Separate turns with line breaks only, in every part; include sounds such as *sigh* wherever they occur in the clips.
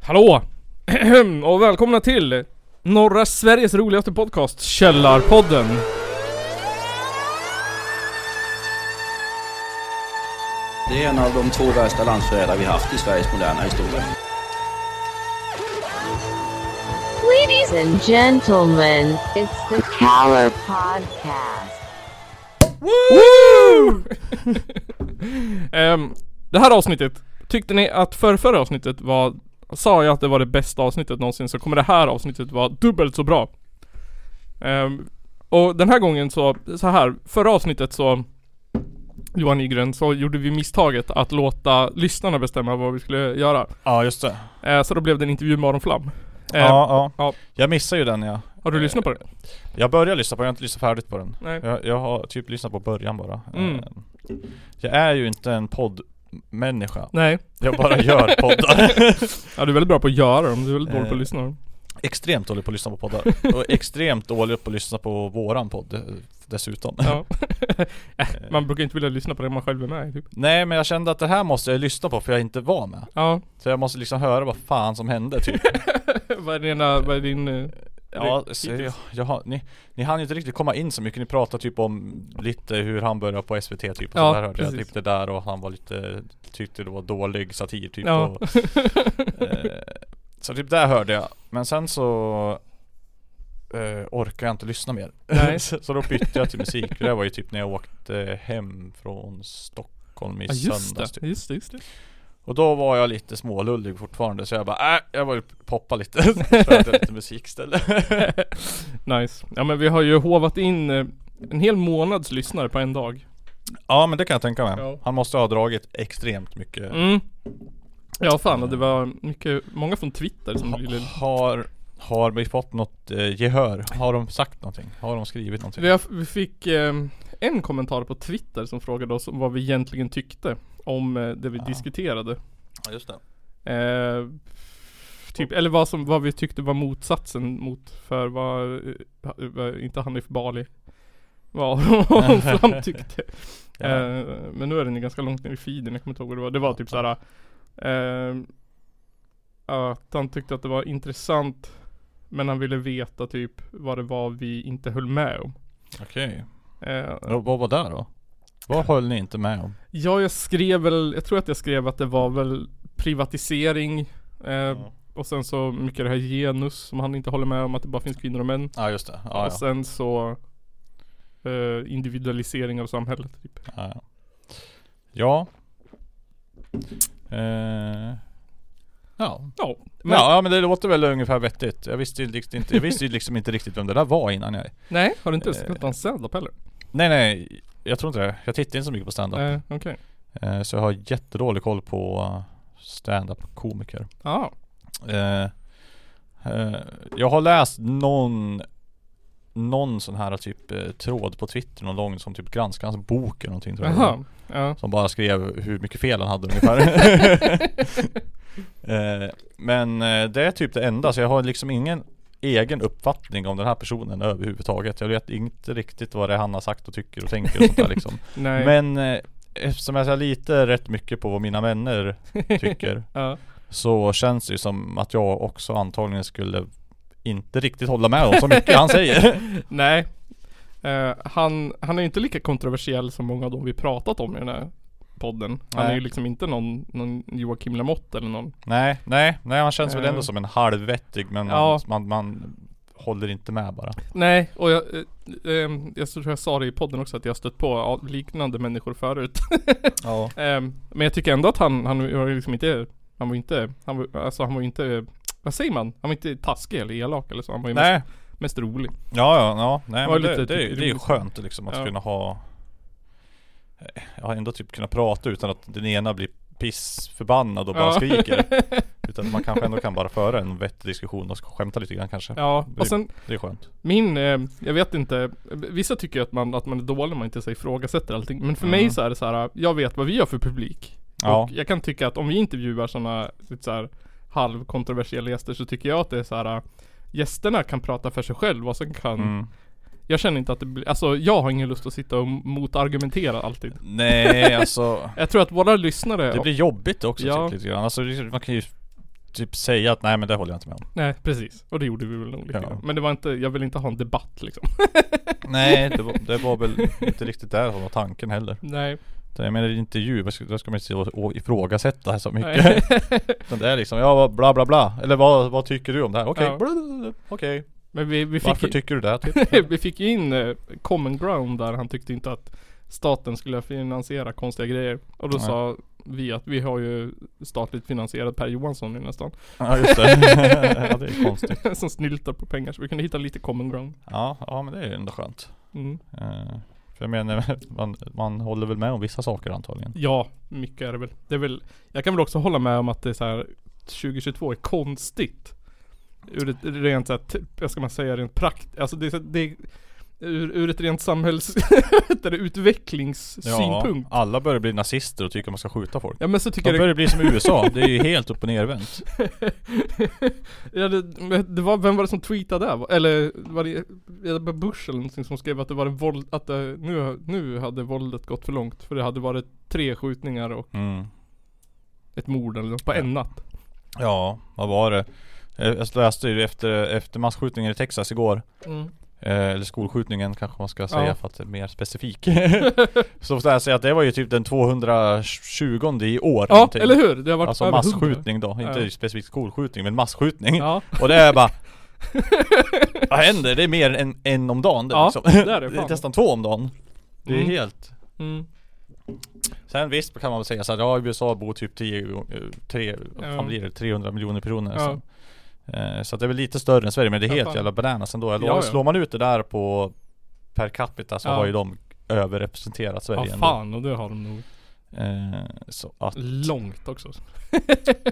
Hallå! *clears throat* Och välkomna till norra Sveriges roligaste podcast, Källarpodden.
Det är en av de två värsta landsförrädare vi haft i Sveriges moderna historia.
Ladies and gentlemen, it's the Caller Podcast.
Woo! *laughs* Ehm, det här avsnittet, tyckte ni att förra, förra avsnittet var, sa jag att det var det bästa avsnittet någonsin så kommer det här avsnittet vara dubbelt så bra. Ehm, och den här gången så, så här, förra avsnittet så Johan Nygren, så gjorde vi misstaget att låta lyssnarna bestämma vad vi skulle göra.
Ja just det.
Ehm, så då blev det en intervju med Aron Flam. Ehm,
ja, ja.
ja.
Jag missar ju den ja.
Har du lyssnat på det?
Jag börjar lyssna på den, jag har inte lyssnat färdigt på den.
Nej.
Jag, jag har typ lyssnat på början bara.
Mm.
Eh, Jag är ju inte en poddmänniska.
Nej.
Jag
*laughs*
bara gör poddar. *laughs*
Ja du är väldigt bra på att göra dem, du är väldigt dålig på att
Eh.
lyssna.
extremt dålig på att lyssna på poddar. Och extremt dålig på att lyssna på våran podd eh, dessutom.
*laughs* Ja. man brukar inte vilja lyssna på det man själv är med i, typ.
Nej men jag kände att det här måste jag lyssna på för jag inte var med.
Ja. *laughs*
Så jag måste liksom höra vad fan som hände typ.
Vad är din, vad är din eh,
Ja,
det-
så jag, jag har, ni, ni hann ju inte riktigt komma in så mycket, ni pratade typ om lite hur han började på SVT typ och
Ja,
sådär hörde jag
precis.
typ det där och han var lite, tyckte det var dålig satir typ
Ja.
och, eh, Så typ där hörde jag, men sen så eh, orkade jag inte lyssna mer
Nej.
*laughs* så, så då bytte jag till musik, för det var ju typ när jag åkte hem från Stockholm i
Ja just
söndags
det,
typ.
just det, just det. *laughs*
Och då var jag lite smålullig fortfarande så jag bara äh, jag var ju poppa
*laughs*
lite, så körde jag lite musik istället
nice. Ja men vi har ju hovat in eh, en hel månads lyssnare på en dag.
Ja men det kan jag tänka mig.
Ja.
Han måste ha dragit extremt mycket.
Mm. Ja fan och det var mycket, många från Twitter som ville
Ha, har, har vi fått något eh, gehör? Har de sagt någonting? Har de skrivit någonting?
vi, har, vi fick eh, en kommentar på Twitter som frågade oss om vad vi egentligen tyckte om eh, det vi
Ja.
diskuterade.
Ja just det.
Eh, typ, eller vad, som, vad vi tyckte var motsatsen mot för vad, eh, ha- vad inte Hanif Bali vad *laughs* Flam tyckte. Eh, men nu är den ju ganska långt ner i feeden, jag kommer inte ihåg vad det var. Det var typ såhär eh, Att han tyckte att det var intressant Men han ville veta typ vad det var vi inte höll med om.
Okej.
Eh,
Ja, Vad var det då? Vad höll ni inte med om?
ja jag skrev väl, jag tror att jag skrev att det var väl privatisering eh, Och sen så mycket det här genus som han inte håller med om att det bara finns kvinnor och män.
Ja just det. Ja,
och
ja.
sen så eh, individualisering av samhället typ.
Ja. ja. Ja. Eh, ja.
Ja. Men,
ja, men det låter väl ungefär vettigt. Jag visste ju liksom inte, jag visste ju liksom inte riktigt vem det där var innan jag...
Nej, har du inte ens
Eh.
sett hans stand-up heller?
Nej nej, jag tror inte det. Jag tittar inte så mycket på stand-up.
Eh, Okej. Okay.
Eh, Så jag har jättedålig koll på eh, stand-up komiker.
Ja.
Eh, eh, Jag har läst någon någon sån här typ eh, tråd på Twitter någon lång som typ granskar hans bok eller någonting tror jag det var.
Jaha. Ja.
Som bara skrev hur mycket fel han hade ungefär Eh, Men eh, det är typ det enda så jag har liksom ingen egen uppfattning om den här personen överhuvudtaget Jag vet inte riktigt vad det är han har sagt och tycker och tänker och sånt där liksom
Nej.
men eh, eftersom jag litar rätt mycket på vad
*laughs*
mina vänner tycker
Ja.
Så känns det ju som att jag också antagligen skulle inte riktigt hålla med om så mycket
*laughs*
han säger
Nej. Eh, han, han är ju inte lika kontroversiell som många av de vi pratat om i den här podden. Han
Nej.
är ju liksom inte någon, någon Joakim Lamotte eller någon.
Nej, nej, nej han känns väl
Eh.
ändå som en halvvettig men
Ja.
man, man, man håller inte med bara
Nej, och jag, eh, ehm, jag tror jag sa det i podden också att jag har stött på ja, liknande människor förut. *laughs*
Ja
Ehm, men jag tycker ändå att han, han var ju liksom inte, han var ju inte, han var, alltså han var ju inte, vad säger man? Han var inte taskig eller elak eller så, han var ju mest,
Nej,
mest rolig.
ja ja, ja. nej
Det var
men det,
lite
det, är ju-
typ
det är ju
roligt.
skönt liksom att
Ja.
kunna ha Ja ändå typ kunna prata utan att den ena blir pissförbannad och bara
Ja.
skriker
*laughs*
Utan man kanske ändå kan bara föra en vettig diskussion och skämta lite grann kanske
Ja,
Det-
och sen
Det är skönt.
min, eh, jag vet inte, vissa tycker ju att man, att man är dålig om man inte så ifrågasätter allting. Men för mig
Mm.
så är det så här, jag vet vad vi har för publik.
Ja.
Och jag kan tycka att om vi intervjuar sådana lite så här halvkontroversiella gäster så tycker jag att det är så här äh, Gästerna kan prata för sig själv och sen kan
Mm.
Jag känner inte att det blir, alltså jag har ingen lust att sitta och motargumentera alltid
Nej alltså.
*laughs* Jag tror att våra lyssnare
Det blir jobbigt också
Ja.
typ lite grann. Alltså det- man kan ju typ säga att nej men det håller jag inte med om.
Nej precis, och det gjorde vi väl nog lite
Ja.
grann. Men det var inte, jag vill inte ha en debatt liksom.
Nej *laughs* det var, det
*laughs*
var väl inte riktigt där som var tanken heller.
Nej.
Utan Jag menar i en intervju, vad ska, vad ska man inte och ifrågasätta så mycket.
nej. *laughs*
Utan det är liksom, ja vad- bla bla bla. Eller vad, vad tycker du om det här? Okej,
Ja.
bla, bla, bla. okej.
Men vi, vi fick
Varför
ju-
tycker du det? Typ.
*laughs* vi fick ju in eh, common ground där han tyckte inte att staten skulle finansiera konstiga grejer. Och då
Nej.
sa vi att vi har ju statligt finansierat Per Johansson nu nästan.
Ja
*laughs*
just *laughs* det. ja det är konstigt.
som snyltar på pengar. Så vi kunde hitta lite common ground.
Ja, ja men det är ju ändå skönt.
Mm.
Eh, För jag menar, *laughs* man, man håller väl med om vissa saker antagligen.
Ja, mycket är det väl. Det är väl. Jag kan väl också hålla med om att det är så här 2022 är konstigt. Ur ett rent så här, t- vad ska man säga, rent prakt, alltså det är, så- det är ur, ur ett rent samhälls, *laughs* vad heter det, utvecklingssynpunkt. Ja.
alla börjar bli nazister och tycker man ska skjuta folk.
men så tycker
De
jag
börjar bli som i
*laughs*
USA, det är ju helt upp och nervänt.
Ja, det, men det var, vem var det som tweetade det? Eller var det, var det Bush eller någonting som skrev att det var en våld, att det, nu, nu hade våldet gått för långt. För det hade varit tre skjutningar och
Mm.
ett mord eller något på en natt.
Ja, vad var det? Eh, Jag läste ju efter, efter masskjutningen i Texas igår eh, Eller skolskjutningen kanske man ska säga
Ja.
för att det är mer specifik *laughs* Så får jag säga att det var ju typ den 220 i år
Ja, eller hur? Det har varit
Alltså
över
masskjutning då, inte
Ja.
specifikt skolskjutning men masskjutning
Ja,
Och det
*laughs*
är bara Vad händer? Det är mer än en om dagen *laughs* det,
Ja,
liksom.
det är det, fan.
nästan två om dagen Det är
Mm.
helt
mm.
Sen visst kan man väl säga så här, ja i USA bor typ 10, gång- eh, tre, vad
Ja.
fan blir det? 300 miljoner personer
Ja.
så. Eh, så att det är väl lite större än Sverige men det är
Ja,
helt
fan.
jävla bananas ändå. Jag
Ja,
lovar,
ja.
Slår man ut det där på per capita så
Ja.
har ju de överrepresenterat Sverige
ja
ändå.
fan och det har de nog
Eh, så att,
långt också.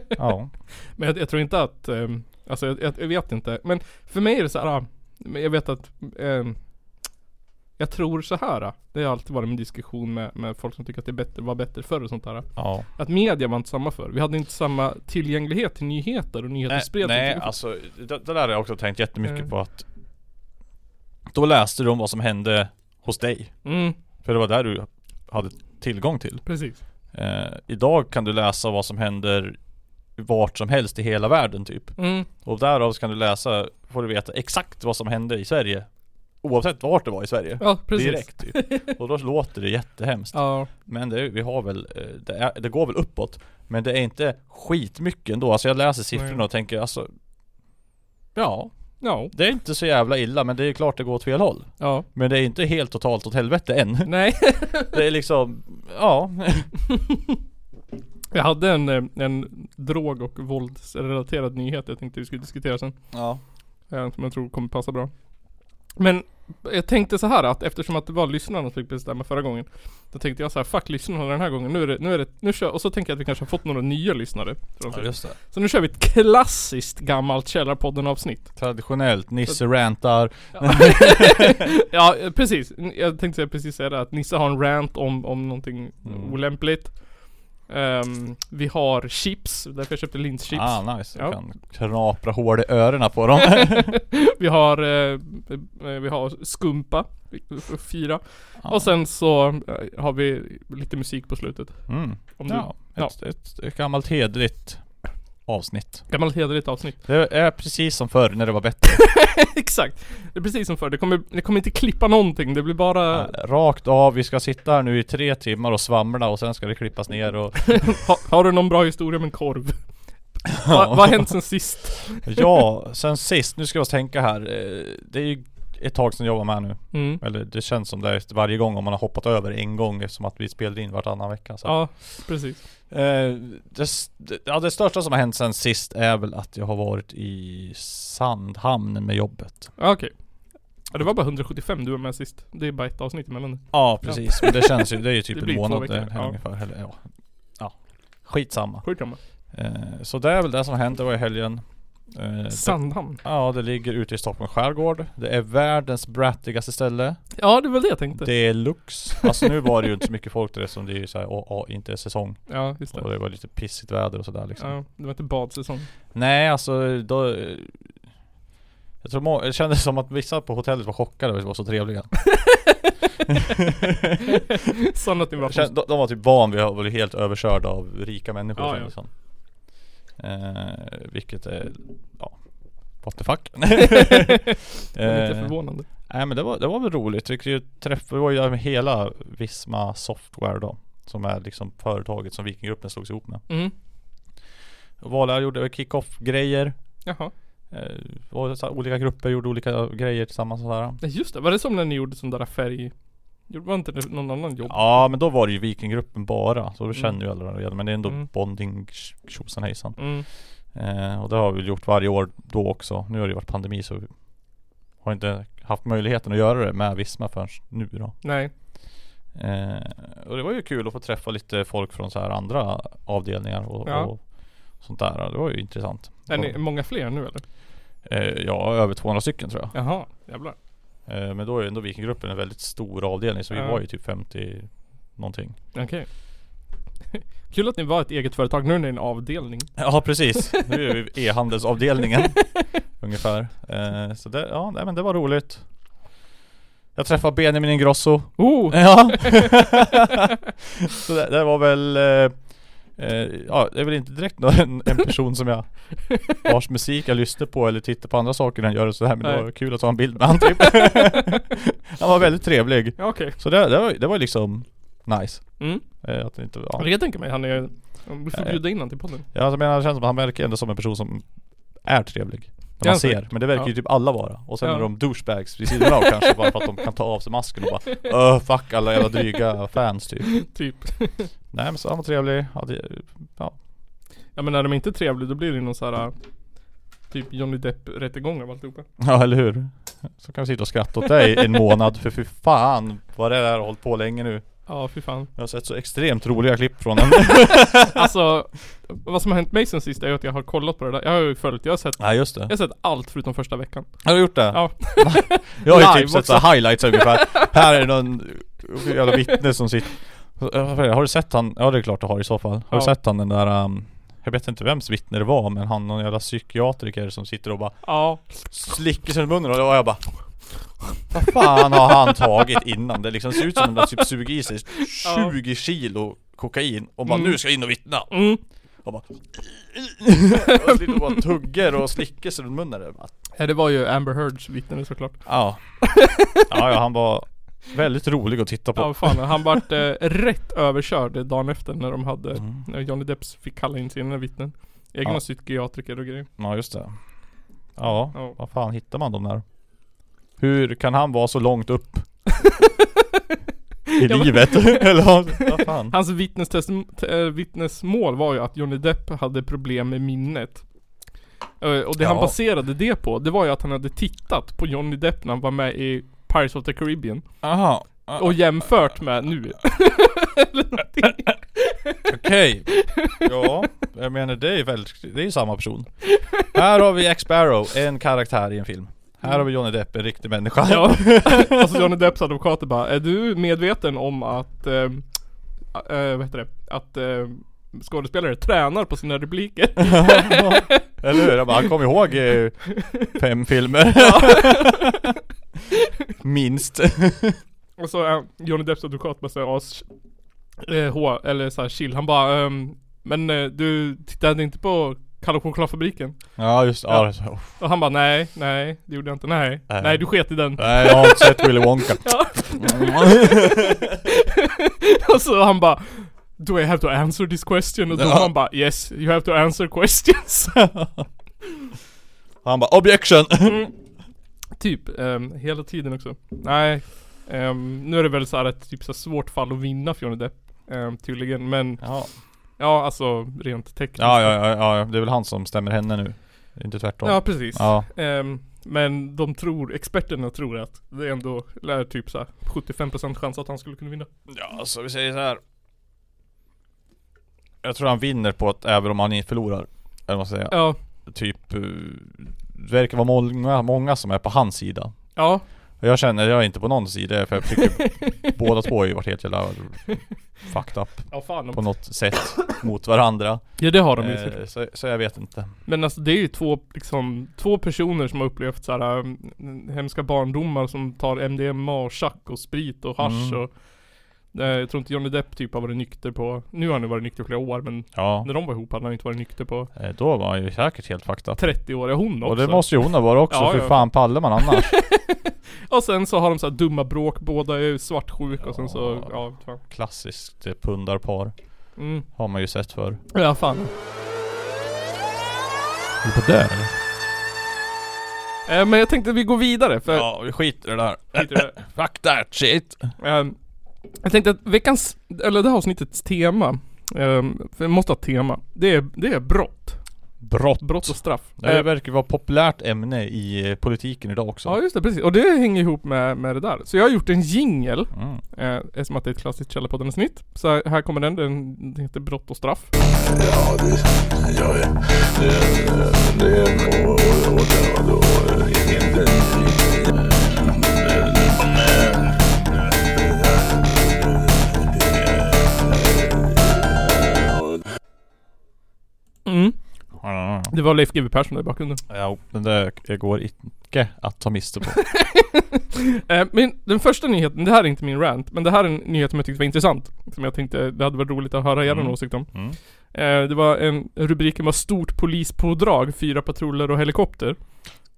ja.
*laughs* Men jag, jag tror inte att, ehm, alltså jag, jag, jag vet inte. Men för mig är det så här, ah, men jag vet att ehm, jag tror så här. ah. Det har alltid varit min diskussion med, med folk som tycker att det är bättre, var bättre förr och sånt där. ah.
ja.
Att media var inte samma förr. Vi hade inte samma tillgänglighet till nyheter och nyheter
Nej,
spreds
nej
inte.
alltså det, det där har jag också tänkt jättemycket
Mm.
på att Då läste du om vad som hände hos dig.
Mm,
För det var där du hade tillgång till.
precis.
Eh, idag kan du läsa vad som händer vart som helst i hela världen typ.
Mm,
Och därav så kan du läsa, får du veta exakt vad som hände i Sverige. Oavsett vart det var i Sverige.
ja precis.
Direkt typ. Och då låter det jättehemskt.
Ja,
Men det, är- vi har väl, eh, det, är, det går väl uppåt. Men det är inte skitmycket ändå. Alltså jag läser siffrorna
Nej.
och tänker alltså Ja,
ja,
det är inte så jävla illa men det är klart det går åt fel håll.
ja.
Men det är inte helt totalt åt helvete än. *laughs*
Nej.
Det är liksom, ja.
Jag hade en, eh, en drog och våldsrelaterad nyhet jag tänkte vi skulle diskutera sen.
Ja.
eh, Som jag tror kommer passa bra. Men jag tänkte så här att eftersom att det var lyssnarna som fick bestämma förra gången. Då tänkte jag så här, fuck lyssnarna den här gången. Nu är det, nu är det, nu kör, och så tänker jag att vi kanske har fått några nya lyssnare. från
ja
sig.
just det.
Så nu kör vi ett klassiskt gammalt Källarpodden avsnitt.
Traditionellt, Nisse rantar
*laughs* Ja eh, precis, N- jag tänkte säga precis säga det att Nisse har en rant om, om någonting
Mm.
olämpligt. Ehm, vi har chips, därför jag köpte linschips.
Ah nice,
Ja.
du kan knapra hål i öronen
*laughs*
på dem
Vi har, eh, eh, vi har skumpa, f- fyra.
Ja.
Och sen så eh, har vi lite musik på slutet.
mm.
Om
ja,
Ja.
ett, ett, ett gammalt hederligt avsnitt
du, gammalt hederligt avsnitt. *laughs*
Det är precis som förr när det var bättre
Exakt. Det är precis som förr. Det kommer, det kommer inte klippa någonting. Det blir bara
Rakt av, vi ska sitta här nu i tre timmar och svamla och sen ska det klippas ner och
*laughs* ha, Har du någon bra historia med en korv? *laughs* Va, vad har hänt sen sist?
*laughs* Ja, sen sist, nu ska jag tänka här eh, Det är ju ett tag sedan jag var med nu
Mm.
Eller det känns som det är efter varje gång om man har hoppat över en gång eftersom att vi spelade in vartannan vecka så.
Ja, precis.
Eh, det, s- det- ja, det största som har hänt sen sist är väl att jag har varit i Sandhamn med jobbet.
Ja, Okej. Ja, det var bara 175 du var med sist. Det är bara ett avsnitt emellan.
Ja precis, men det känns ju, det
*laughs*
är ju
Det
typ
blir
en
två
månad
veckor,
det,
ja.
ungefär. Eller, ja. ja, skitsamma.
Skitsamma.
Eh, så det är väl det som har hänt, det var i helgen. Eh, det,
Sandhamn.
ja, det ligger ute i Stockholms skärgård. Det är världens brattigaste ställe.
Ja, det var det jag tänkte.
Det är lux. Alltså nu var det ju inte så mycket folk där som det är ju såhär, åh, åh, inte säsong.
Ja, just
Och
det.
det var lite pissigt väder och sådär liksom.
Ja, det var inte badsäsong.
*laughs* Nej alltså då Jag tror må- det kändes som att vissa på hotellet var chockade över att vi var
*laughs*
så trevliga
Sånt att ni var
Kän- de, de var typ van vid att bli helt överkörda av rika människor
Ja,
ja,
ja.
Liksom. Eh, vilket är, ja, what
*laughs*
the fuck.
Det är lite
Eh,
förvånande.
Nej men det var, det var väl roligt. Vi fick ju träffa, vi var ju med hela Visma Software då. Som är liksom företaget som Vikinggruppen slogs ihop med.
Mm.
Och Vad jag gjorde kick-off grejer.
Jaha.
Eh, och så här, olika grupper gjorde olika grejer tillsammans och sådär.
Nej just det, var det som när ni gjorde sån där färg... Gjorde- Var inte det någon annan jobb?
Ja men då var det ju Vikinggruppen bara. Så då känner ju alla varandra redan. Men det är ändå
Mm.
bonding tjosan hejsan.
Mm.
Eh, och det har vi väl gjort varje år då också. Nu har det ju varit pandemi så vi har inte haft möjligheten att göra det med Visma förrän nu då.
Nej.
Eh, och det var ju kul att få träffa lite folk från så här andra avdelningar och,
Ja.
och sånt där. Det var ju intressant.
Är ni många fler nu eller?
eh, ja, över 200 stycken tror jag.
Jaha, jävlar.
Eh, men då är ju ändå Vikinggruppen en väldigt stor avdelning så
Ja.
vi var ju typ 50 någonting.
Okej. *laughs* Kul att ni var ett eget företag, nu är ni en avdelning.
Ja precis, nu är
*laughs*
vi e-handelsavdelningen ungefär. Eh, så det, ja, nej, men det var roligt. Jag träffade Benjamin Ingrosso.
Oh!
Ja. *laughs* så det, det var väl eh, eh, Ja, det är väl inte direkt någon, en, en person som jag Vars musik jag lyssnar på eller tittar på andra saker än gör och sådär Men
Nej.
det var kul att ta en bild med
*laughs*
han typ Han var väldigt trevlig
Ja, Okej.
Så det, det, var, det var liksom nice
Mm.
eh, att det inte,
Ja. Eh.
ja.
Jag tänker mig han är... Vi får
Ja, ja.
bjuda in honom till podden.
Ja, alltså, Jag menar det känns som att han verkar ändå som en person som är trevlig när
Ja,
man ser,
säkert.
men det verkar ju
Ja.
typ alla vara. Och sen
Ja.
är de douchebags vid sidan av kanske bara för att de kan ta av sig masken och bara Öh fuck alla jävla dryga fans typ
Typ.
Nej men så han var trevlig, hade, ja.
Ja men när de inte är trevliga då blir det någon så här äh, Typ Johnny Depp rättegång av alltihopa.
ja eller hur? Så kan vi sitta och skratta åt dig i en månad för fy fan vad det där har hållit på länge nu
Ja fy fan.
Jag har sett så extremt roliga klipp från den
*laughs* Alltså vad som har hänt mig sen sist är ju att jag har kollat på det där. Jag har ju följt, jag har sett,
Ja just det,
jag har sett allt förutom första veckan.
har du gjort det?
Ja.
*laughs* Jag har ju
Live
typ sett så här
*laughs*
highlights ungefär Här är någon jävla vittne som sitter Har du sett han? Ja det är klart du har i så fall Har du
Ja.
sett han den där um, jag vet inte vems vittne det var men han någon jävla psykiatriker som sitter och bara
Ja.
slickar sig i munnen och jag bara Vad fan har han tagit innan? Det liksom ser ut som om han typ
*laughs*
sugit i sig 20 kilo kokain och bara nu ska jag in
*laughs*
och vittna
Mm.
Och bara Och sitter och bara tuggar och slickar sig runt munnen där. Bara,
Ja, Eh, det var ju Amber Heards vittne såklart.
Ja *laughs* Ja ja han var väldigt rolig att titta på
Ja fan, han vart eh, rätt överkörd dagen efter när de hade, när Johnny Depps fick kalla in sina vittnen. Egna
Ja.
psykiatriker och grejer.
Ja just det Ja,
Ja.
vad fan hittar man dem där? Hur kan han vara så långt upp? I livet? *laughs* Eller vad- vad fan?
*laughs* Hans vittnestesm- t- eh, vittnesmål var ju att Johnny Depp hade problem med minnet. Eh, Och det han
Ja.
baserade det på, det var ju att han hade tittat på Johnny Depp när han var med i Pirates of the Caribbean.
Aha,
Och jämfört med nu.
okej Ja, jag menar det är ju väldigt, det är ju samma person Här har vi Jack Sparrow, en karaktär i en film Här har vi Johnny Depp, en riktig människa
Ja. *laughs* alltså Johnny Depps advokater bara, är du medveten om att, eh, äh, vad heter det, att eh, skådespelare tränar på sina repliker?
*laughs* Eller hur? Jag bara, han kom ihåg eh, fem filmer *laughs* Minst
Och så är Johnny Depps advokat bara såhär, as, eh, H, eller såhär chill, han bara ehm, Men eh, du tittade inte på Kalle chokladfabriken?
Ja just ja. det- oh.
Och han bara nej, nej det gjorde jag inte, nej,
Nej.
nej du sket i den
Nej jag har inte sett Willy
*laughs*
Wonka
Och *laughs* så han bara Do I have to answer this question? Och då
Ja.
han bara Yes, you have to answer questions *laughs*
Han bara objection! *laughs*
Mm. Typ, ehm, hela tiden också Nej ehm, Nu är det väl såhär ett typ så här svårt fall att vinna för Johnny Depp ehm, Tydligen, men
Ja.
ja alltså rent tekniskt
Ja, ja, ja, ja, det är väl han som stämmer henne nu. Inte tvärtom.
ja precis
Ja,
Ehm, men de tror, experterna tror att det ändå lär typ så här 75% chans att han skulle kunna vinna.
ja så vi säger så här. Jag tror han vinner på att även om han inte förlorar. Eller vad ska jag säga.
Ja,
Typ, eh, det verkar vara många, många som är på hans sida.
ja,
Och Jag känner, jag är inte på någon sida för jag
*laughs*
tycker båda två har ju varit helt jävla fucked up
ja fan.
på
De,
något sätt mot varandra.
ja det har de ju. säkert.
Eh, så, så jag vet inte.
Men alltså det är ju två, liksom, två personer som har upplevt så här um, mm, hemska barndomar som tar MDMA och chack och sprit och hasch
Mm.
och Eh, Jag tror inte Johnny Depp typ har varit nykter på, nu har han ju varit nykter i flera år men
Ja.
när de var ihop hade han inte varit nykter på
Eh, Då var han ju säkert helt fucked up.
30 år, ja hon också.
Och det måste ju hon ha varit också,
Ja,
för
ja.
fan pallar man *laughs* annars?
Och sen så har de så här dumma bråk, båda är svartsjuka och sen så,
Ja.
ja fan.
Klassiskt eh, pundarpar.
Mm.
Har man ju sett förr.
Ja fan.
Håller på att dö eller?
Eh, men jag tänkte vi går vidare för
Ja, vi skiter i det där.
Skiter i det.
Fuck that shit!
Ehm, Jag tänkte att veckans, eller det här avsnittets tema, ehm, för jag måste ha ett tema. Det är, det är brott.
Brott.
Brott och straff.
Det här
Eh,
verkar vara ett populärt ämne i eh, politiken idag också.
ja just det, precis. Och det hänger ihop med, med det där. Så jag har gjort en jingel,
Mm.
eh, eftersom att det är ett klassiskt Källarpodden-snitt. Så här, här kommer den, den heter Brott och straff.
Ja, det gör jag. Det, det är nog... och- och- och- och- och- Inte...
Mm.
Ja,
Det var Leif GW Persson där i bakgrunden.
men det det går inte att ta miste *laughs* på.
Eh, Men den första nyheten, det här är inte min rant, men det här är en nyhet som jag tyckte var intressant. Som jag tänkte, det hade varit roligt att höra er
Mm.
åsikt om.
Mm.
Eh, Det var en, rubriken var stort polispådrag, fyra patruller och helikopter.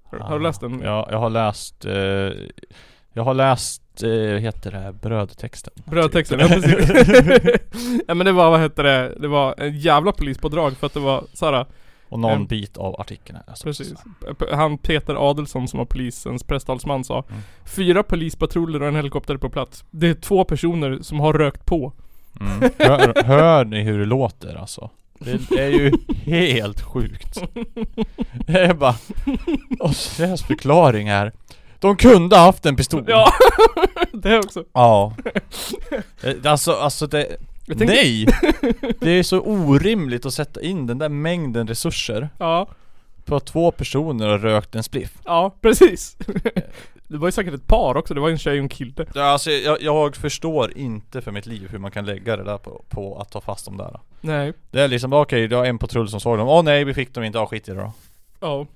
Har, har du läst den?
Ah, Ja, jag har läst... Eh, jag har läst, eh, vad heter det, här? brödtexten.
Brödtexten, ja precis. *laughs* ja men det var, vad hette det, det var en jävla polispådrag för att det var såhär,
Och någon
Mm.
bit av artikeln är så.
precis. P- Han Peter Adelsson som var polisens presstalsman sa,
Mm.
fyra polispatruller och en helikopter på plats. Det är två personer som har rökt på.
Mm. *laughs* Hör, hör ni hur det låter alltså? Det är ju helt sjukt. Det är bara... Och så deras förklaring här. De kunde ha haft en pistol.
Ja, *laughs* det också.
Ja. Eh, Alltså, alltså det...
Jag tänkte-
Nej! Det är så orimligt att sätta in den där mängden resurser
Ja.
på att två personer har rökt en spliff.
Ja, precis. *laughs* Det var ju säkert ett par också, det var ju en tjej och en kille.
Ja, alltså, jag, jag förstår inte för mitt liv hur man kan lägga det där på, på att ta fast dem där.
Nej.
Det är liksom, okej, det var en patrull som såg dem. Åh nej, vi fick dem inte. Ja, skit i det då.
Ja.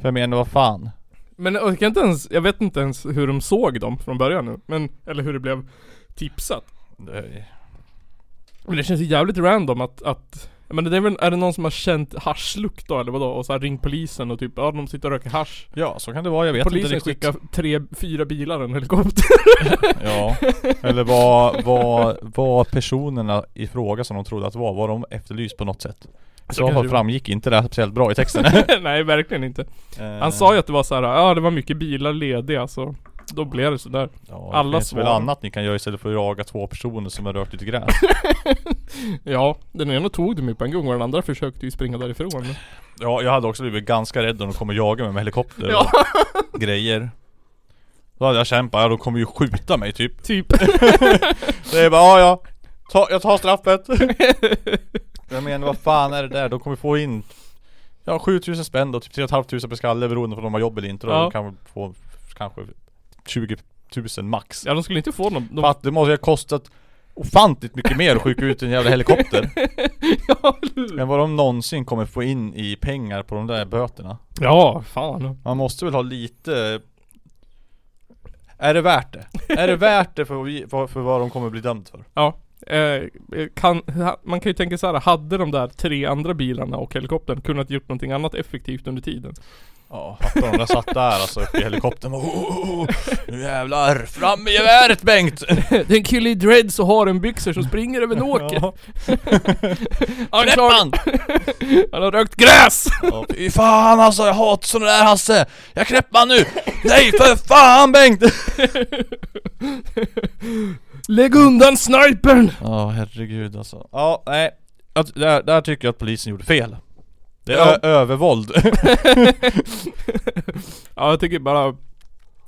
För jag menar, vad fan?
Men jag, kan inte ens, jag vet inte ens hur de såg dem från början nu. Men, eller hur det blev tipsat.
Det-
Men det känns ju jävligt random att, att men det är, väl, är det någon som har känt haschlukt då eller vadå? Och så här ringt polisen och typ ja de sitter och röker hasch.
Ja, så kan det vara. Jag vet
Polisen
inte riktigt.
skickar tre, fyra bilar och en *laughs* helikopter.
*laughs* Ja. Eller vad, vad, vad personerna i fråga som de trodde att det var, var de efterlyst på något sätt? Så
kanske det var.
framgick inte det här speciellt bra
*laughs*
i texten. Eh,
Nej verkligen inte. Han sa ju att det var så här, ja det var mycket bilar lediga så då blev det sådär.
Ja,
Alla
det finns väl
svar.
annat ni kan göra istället för att jaga två personer som har rört lite gräs.
*laughs* Ja, den ena tog dem ju på en gång och den andra försökte ju springa därifrån.
ja, jag hade också blivit ganska rädd om de kommer jaga mig med helikopter
Ja.
och grejer. Då hade jag kämpat, ja de kommer ju skjuta mig
*laughs*
typ.
Typ.
Det är bara, ja ja, ta, jag
*laughs*
tar straffet. jag menar vad fan är det där? De kommer få in Ja 7000 spänn då, typ 3 500 per skalle beroende på om de har jobb eller inte då.
Ja.
De kan väl få kanske 20 000 max.
Ja de skulle inte få någon, de,
För att det måste ju ha kostat ofantligt mycket mer att skicka ut en jävla helikopter.
*laughs* ja, eller hur?
Men vad de någonsin kommer få in i pengar på de där böterna
ja, fan.
Man måste väl ha lite Är det värt det? Är det värt det för, vi- för, för vad de kommer bli dömd för?
Ja. Eh, kan, ha- man kan ju tänka så här, hade de där tre andra bilarna och helikoptern kunnat gjort någonting annat effektivt under tiden?
Ja, fattar de där satt där alltså uppe i helikoptern och bara, oh, oh, oh, *laughs* Nu jävlar, fram med geväret *laughs* Bengt!
*laughs* det är en kille i dreads och har en byxor som springer över en åker.
Ja,
han,
släpp
klarar,
han!
han har rökt *laughs* gräs!
Ja, Fy fan alltså, jag hatar såna där Hasse! Jag knäpper han nu! Nej för fan Bengt!
Lägg undan snipern!
Ja herregud alltså. Ja nej. Att, där, där tycker jag att polisen gjorde fel. Det är
Ja.
ö- övervåld.
*laughs*
*laughs*
Ja jag tycker bara eh,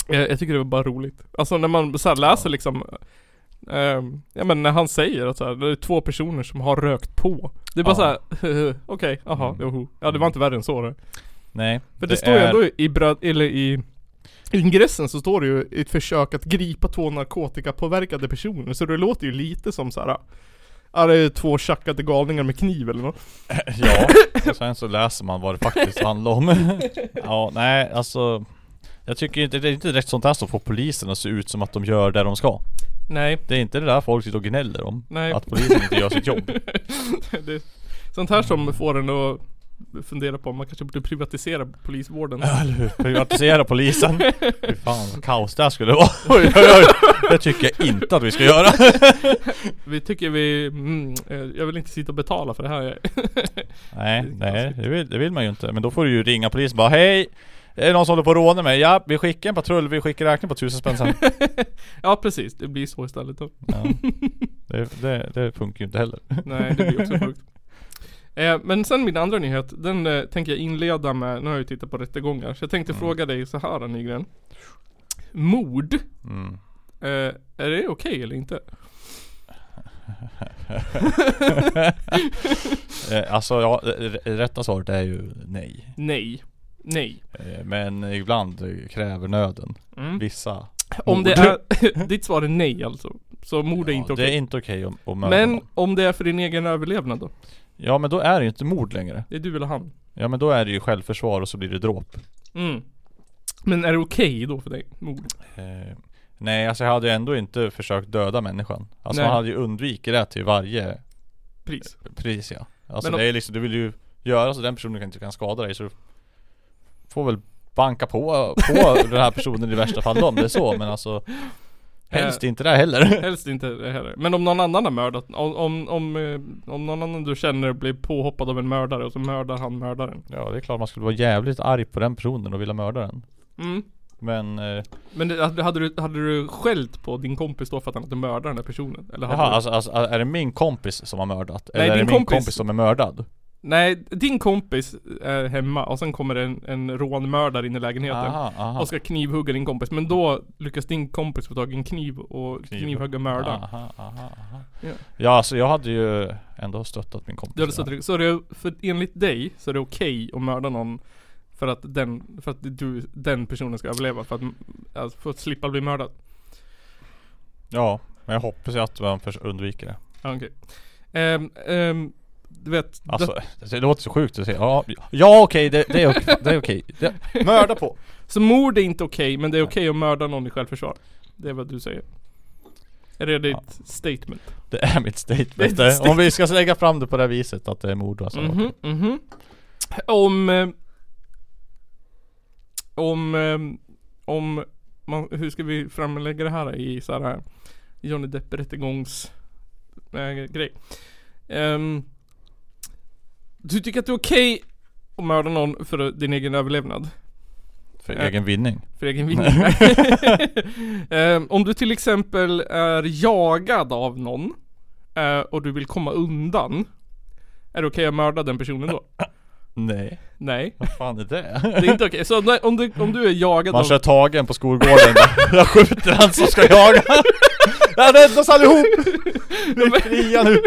Jag, jag tycker det var bara roligt Alltså när man så här läser liksom ehm, Ja men när han säger att så här, det är två personer som har rökt på Det är bara
Ja.
så här, *laughs* okej, jaha,
Mm.
joho Ja det var inte värre än så då.
nej.
För det, står ju ändå i bröd, eller i i ingressen så står det ju ett försök att gripa två narkotikapåverkade personer Så det låter ju lite som så här. Ja det är två tjackade galningar med kniv eller något
*laughs* Ja, och sen så läser man vad det faktiskt handlar om. *laughs* Ja, nej alltså. Jag tycker inte, det är inte direkt sånt här som får polisen att se ut som att de gör det de ska.
Nej.
Det är inte det där folk sitter och gnäller om.
Nej.
Att polisen inte gör sitt jobb.
*laughs* det, sånt här som får en att fundera på om man kanske borde privatisera polisvården.
Ja, eller hur? Privatisera polisen. Fy fan vad kaos det här skulle
*laughs*
vara. Oj, oj, oj. Det tycker jag inte att vi ska göra.
Vi tycker vi, mm, eh, jag vill inte sitta och betala för det här. *laughs*
Nej, nej det vill, det vill man ju inte. Men då får du ju ringa polisen och bara hej. Är det någon som håller på att råna mig? Ja, vi skickar en patrull. Vi skickar räkning på tusen spänn sen.
*laughs* ja precis, det blir så istället då.
Ja. Det, det, det funkar ju inte heller.
Nej, det blir också sjukt. *laughs* Eh, men sen min andra nyhet, den eh, tänker jag inleda med, nu har jag ju tittat på rättegångar, så jag tänkte fråga dig så här Nygren. Mord, *laughs*
Mm.
eh, är det okej eller inte?
Eh, Alltså ja, r- rätta svaret är ju nej.
Nej. Nej.
Eh, Men ibland kräver nöden
Mm.
vissa
Om det
mord.
är, *laughs* ditt svar är nej alltså. Så mord är
Ja,
inte
Det är
okej.
inte okej om, om mörda
Men
någon.
om det är för din egen överlevnad då?
Ja men då är det ju inte mord längre.
Det är du eller han?
Ja men då är det ju självförsvar och så blir det dråp.
Mm. Men är det okej då för dig? Mord?
Eh, nej alltså jag hade ju ändå inte försökt döda människan. Alltså
Nej.
man hade ju undvikit det till varje
Pris?
pris ja. Alltså
Men om-
det är liksom, du vill ju göra så den personen kan inte kan skada dig så du får väl banka på,
*laughs*
på den här personen i värsta fall om det är så men alltså Helst
Eh.
inte det heller. *laughs*
Helst inte det heller. Men om någon annan har mördat, om, om, om, eh, om någon annan du känner blir påhoppad av en mördare och så mördar han mördaren.
Ja det är klart man skulle vara jävligt arg på den personen och vilja mörda den.
Mm.
Men eh,
Men det, hade, hade du, hade du skällt på din kompis då för att han hade mördat den där personen? Eller hade
Jaha,
du,
alltså, alltså är det min kompis som har mördat?
Nej,
Eller är det
din
min
kompis.
kompis. som är mördad?
Nej, din kompis är hemma och sen kommer en, en rånmördare in i lägenheten.
Aha, aha.
Och ska knivhugga din kompis, men då lyckas din kompis få tag i en kniv och
Kniv.
knivhugga mördaren.
Aha, aha, aha.
Ja.
Ja. ja alltså jag hade ju ändå stöttat min kompis
Du hade
där.
suttit i- så det, för enligt dig så är det okej att mörda någon för att den, för att du, den personen ska överleva för att, alltså, för att slippa bli mördad.
Ja, men jag hoppas ju att man förs- undviker det
Ja, Okej. Ehm, ehm, du vet,
Alltså det, det låter så sjukt att säga Ja, ja okej det, det är okej, det är okej
*laughs*
Det- Mörda på!
så mord är inte okej men det är okej att mörda någon i självförsvar. Det är vad du säger. Är det ditt
Ja.
statement?
Det är mitt statement,
Det är ditt
Om vi ska lägga fram det på det här viset att det är mord alltså
Mhm, mhm. Om... eh, Om... eh, Om... Man, hur ska vi framlägga det här i så här Johnny Depp rättegångs... Äh, grej. Ehm, du tycker att det är okej att mörda någon för din egen överlevnad?
För
Eh.
egen vinning
För egen vinning? *laughs* Ehm, om du till exempel är jagad av någon eh, och du vill komma undan Är det okej att mörda den personen då?
Nej,
Nej
vad fan är det?
Det är inte okej, så nej, om, du, om du är jagad
Man
av...
kör tagen på skolgården där, där skjuter han som ska jaga Han räddar oss allihop! Vi är fria nu!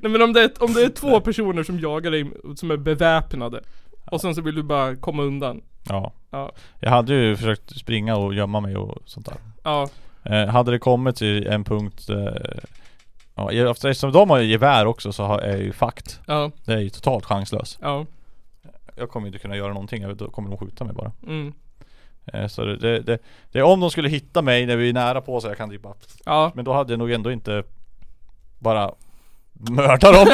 Nej men om det, är, om det är två personer som jagar dig som är beväpnade Och sen så vill du bara komma undan
Ja.
Ja.
Jag hade ju försökt springa och gömma mig och sånt där
Ja,
eh, Hade det kommit till en punkt eh, Ja, eftersom de har ju gevär också så har, är jag ju fakt
ja,
Det är ju totalt chanslös
ja,
Jag kommer ju inte kunna göra någonting, jag vet- då kommer de skjuta mig bara
mm,
eh, Så det, det, det, det är om de skulle hitta mig när vi är nära på så jag kan typ bara
ja
Men då hade jag nog ändå inte bara mörda dem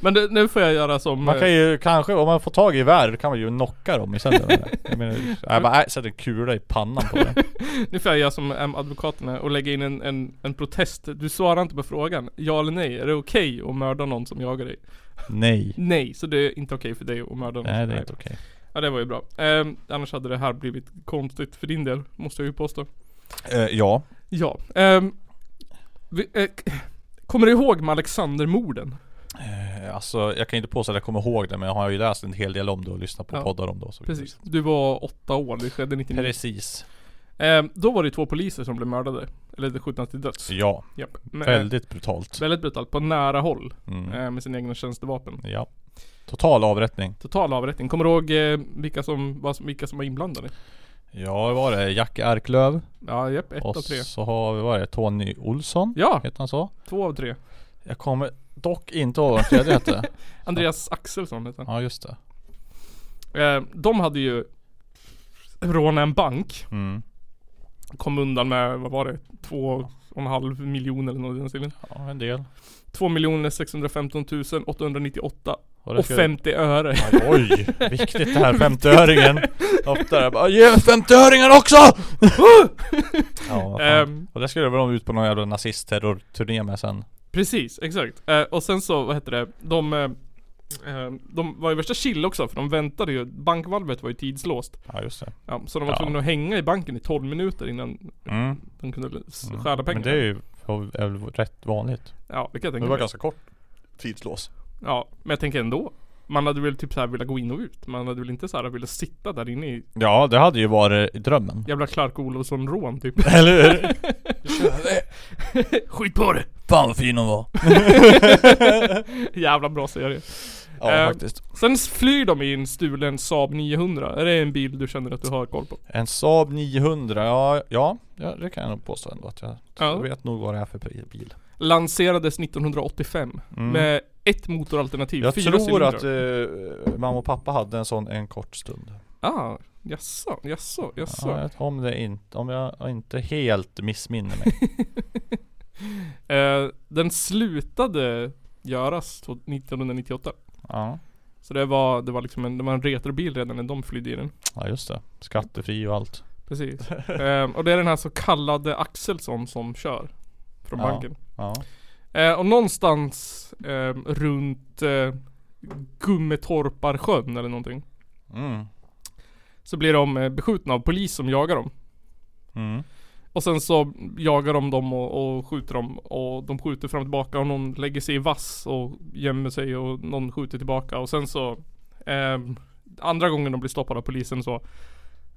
Men det, nu får jag göra som...
Man kan
eh,
ju kanske, om man får tag i värd kan man ju knocka dem istället
*laughs*
Jag menar, jag bara, äh, sätt en kula i pannan på den
Nu får jag göra som em, advokaterna och lägga in en, en, en protest Du svarar inte på frågan, ja eller nej, är det okej att mörda någon som jagar dig?
Nej
*laughs* Nej, så det är inte okej för dig att mörda någon
Nej
som
det är
jagar
inte
dig.
okej
Ja det var ju bra, Ehm, annars hade det här blivit konstigt för din del, måste jag ju påstå
Eh, Ja
Ja. ehm, vi, eh, k- kommer du ihåg med Alexandermorden?
Eh, Alltså jag kan inte påstå att jag kommer ihåg det men jag har ju läst en hel del om det och lyssnat på
Ja.
poddar om det och så vidare.
Precis. Du var åtta år, det skedde 99.
Precis
Ehm, då var det två poliser som blev mördade. Eller skjutna till döds.
Ja,
Japp. Men, eh,
väldigt brutalt
väldigt brutalt, på nära håll.
mm.
eh, med sina egna tjänstevapen.
Ja Total avrättning
Total avrättning. Kommer du ihåg eh, vilka, som, vad som, vilka som var inblandade?
Ja vad var det? Jackie Arklöv
Ja, japp. Ett
Och
av tre.
så har vi, vad är det? Tony Olsson?
Ja,
Heter han så?
två av tre.
Jag kommer dock inte ihåg vad den tredje hette
*laughs* Andreas Axelsson heter han.
Ja just det
Eh, de hade ju rånat en bank.
mm.
Kom undan med, vad var det? Två och och en halv miljon eller något i den stilen.
Ja, en del.
2 615 898
Har det
och 50 öre.
Aj, Oj, viktigt det här 50-öringen. Ofta jag bara, ge mig 50-öringen
*laughs*
också! ja, vad fan.
Ehm,
Och det skulle väl de ut på någon jävla nazistterrorturné med sen.
Precis, exakt. Eh, och sen så, vad heter det, de eh, eh, de var ju värsta chill också för de väntade ju, bankvalvet var ju tidslåst.
Ja just det.
Ja, så de var
Ja.
tvungna att hänga i banken i 12 minuter innan
Mm.
de kunde s-
Mm.
stjäla pengar.
Men det är ju är väl rätt vanligt.
Ja, det kan jag
Det
tänka
var
mig.
ganska kort tidslås.
Ja, men jag tänker ändå. Man hade väl typ så här velat gå in och ut. Man hade väl inte så här velat sitta där inne i
Ja, det hade ju varit drömmen.
jävla Clark Olofsson-rån typ.
*laughs* Eller hur?
Skit på det!
*laughs*
*laughs*
Fan vad fin hon var.
Jävla bra serie.
Ja
Ehm.
faktiskt.
Sen s- flyr de i en stulen Saab 900. Är det en bil du känner att du har koll på?
En Saab 900, ja, ja, ja det kan jag nog påstå ändå att jag jag
Ja.
vet nog vad det är för bil.
Lanserades 1985
Mm.
med ett motoralternativ,
Jag
fyra
tror
cylindrar.
att eh, mamma och pappa hade en sån en kort stund.
Ah, jaså, jaså, jaså.
Ja, jag- om, det inte, om jag inte helt
*laughs*
missminner mig.
Eh, den slutade göras to- 1998.
ja.
Så det var, det var liksom en, det var en retrobil redan när de flydde i den.
ja, just det. Skattefri och allt. *laughs*
Precis. eh, och det är den här så kallade Axelsson som kör. Från
Ja.
banken.
Ja.
Eh, och någonstans eh, runt eh, Gummetorparsjön eller någonting.
Mm.
Så blir de eh, beskjutna av polis som jagar dem.
Mm.
Och sen så jagar de dem och, och skjuter dem. Och de skjuter fram och tillbaka och någon lägger sig i vass och gömmer sig och någon skjuter tillbaka. Och sen så ehm, Andra gången de blir stoppade av polisen så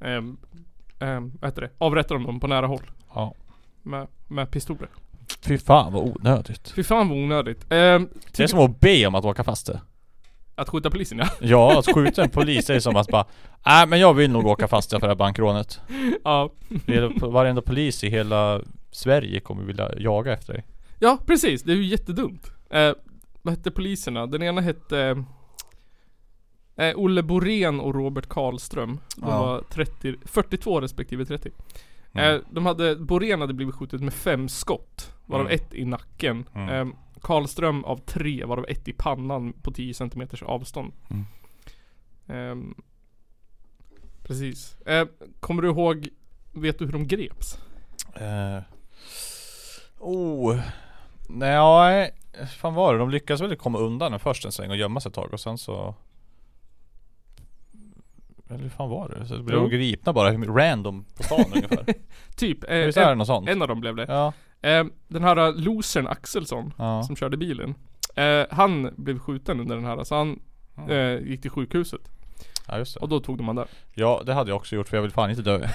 ehm, ehm, Vad heter det? Avrättar de dem på nära håll.
Ja.
Med, med pistoler.
Fy fan vad onödigt.
Fy fan vad onödigt. Ehm,
Det är som att be om att åka fast det.
att skjuta polisen ja. *laughs*
Ja, att skjuta en polis är som att bara Nej men jag vill nog åka fast jag för det här bankrånet.
ja.
Hela- Varenda polis i hela Sverige kommer vilja jaga efter dig.
Ja, precis. Det är ju jättedumt. Eh, vad hette poliserna? Den ena hette eh, Olle Borén och Robert Karlström. De
Ja.
var 30, 42 respektive 30.
Mm.
Eh, de hade, Borén hade blivit skjutet med fem skott. Varav
Mm.
ett i nacken.
Mm.
Eh, Karlström av tre, varav ett i pannan på 10 cm avstånd.
Mm.
Ehm, precis. Eh, kommer du ihåg, vet du hur de greps?
Eh. Oh. Nej, fan var det? De lyckades väl komma undan den först en sväng och gömma sig ett tag och sen så... Eller hur fan var det? Så blev
Jo.
de gripna bara random på stan
*laughs*
ungefär.
Typ, eh,
Visst är det
en,
något sånt?
en av dem blev det.
Ja.
Eh, den här losern Axelsson
Ja.
som körde bilen. Eh, han blev skjuten under den här så han eh, gick till sjukhuset.
ja just det.
Och då tog de han där.
Ja det hade jag också gjort för jag vill fan inte dö.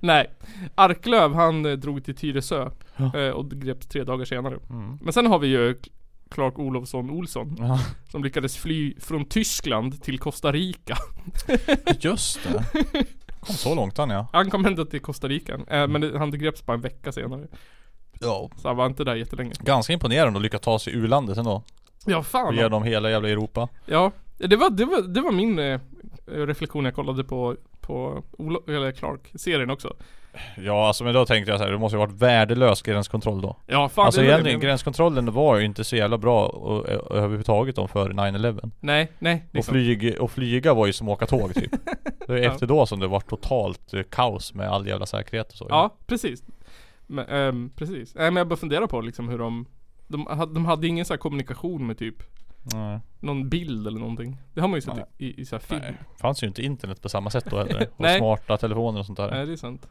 Nej. Arklöv han eh, drog till Tyresö
Ja.
eh, och greps tre dagar senare.
Mm.
Men sen har vi ju Cl- Clark Olofsson Olsson
Ja.
som lyckades fly från Tyskland till Costa Rica.
Just det. Kom så långt han ja.
Han kom ända till Costa Rica. Eh,
Mm.
men det, han greps bara en vecka senare.
Ja.
Så han var inte där jättelänge.
Ganska imponerande att lyckas ta sig ur landet ändå.
Ja fan.
Genom hela jävla Europa.
Ja, det var, det var, det var min eh, reflektion när jag kollade på, på Olo, eller Clark-serien också.
Ja alltså men då tänkte jag så här, det måste ju varit värdelös gränskontroll då.
Ja, fan
alltså
det var det jag
egentligen,
menade.
gränskontrollen var ju inte så jävla bra och, och, överhuvudtaget då före 9-11
Nej, nej. liksom. det är
och,
sant.
flyg, och flyga var ju som att åka
*laughs*
tåg typ Det är efter då som det var totalt eh, kaos med all jävla säkerhet och så
Ja, precis. Men, ehm, precis. Nej men jag bara funderar på liksom hur de de, hade- de hade ingen så här kommunikation med typ
Nej.
någon bild eller någonting. Det har man ju sett
Nej.
i, i, i så här film.
Nej.
Nej.
Fanns ju inte internet på samma sätt då heller Och
*laughs* Nej.
smarta telefoner och sånt där
det är sant.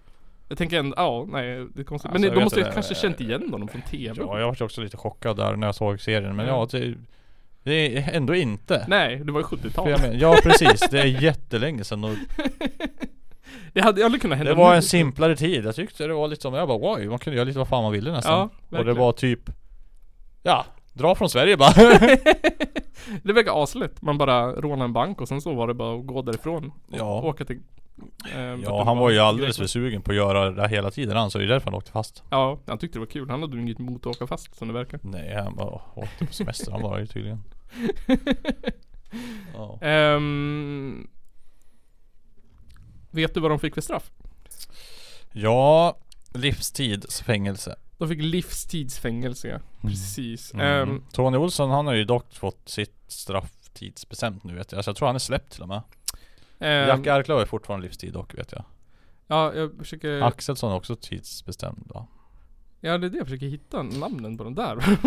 Jag tänker ändå, ja, nej det är konstigt.
Alltså,
men
jag
de
vet
måste ju
inte.
kanske känt igen honom från TV.
Ja jag var också lite chockad där när jag såg serien men
Ja.
ja det, det är ändå inte
Mm. Nej, det var ju
För
70-tal.
jag men, ja precis, det är jättelänge sedan och
Det hade aldrig kunnat hända
Det var
nu.
en simplare tid, jag tyckte det var lite som, jag bara wow, man kunde göra lite vad fan man ville nästan
Ja,
Och det
verkligen.
var typ Ja, dra från Sverige bara
*laughs* Det verkar aslätt. Man bara rånade en bank och sen så var det bara att gå därifrån. Och
*laughs* Ja.
åka till... eh,
Ja
vart
han
det
var ju alldeles för
Grekland.
sugen på att göra det där hela tiden han, så det är därför han åkte fast
Ja, han tyckte det var kul. Han hade ju inget emot att åka fast som det verkar.
Nej han bara åkte på semester han var ju tydligen *laughs* ja.
Ehm, vet du vad de fick för straff?
ja, livstids fängelse
De fick livstidsfängelse ja. Precis.
Mm.
Ehm,
Tony Olsson han har ju dock fått sitt straff tidsbestämt nu vet jag. Alltså jag tror han är släppt till och med.
ehm,
Jack Arklöv är fortfarande livstid dock vet jag.
ja, jag
Ehm.
försöker...
Axelsson är också tidsbestämd va?
Ja det är det jag försöker hitta namnen på de där. *laughs*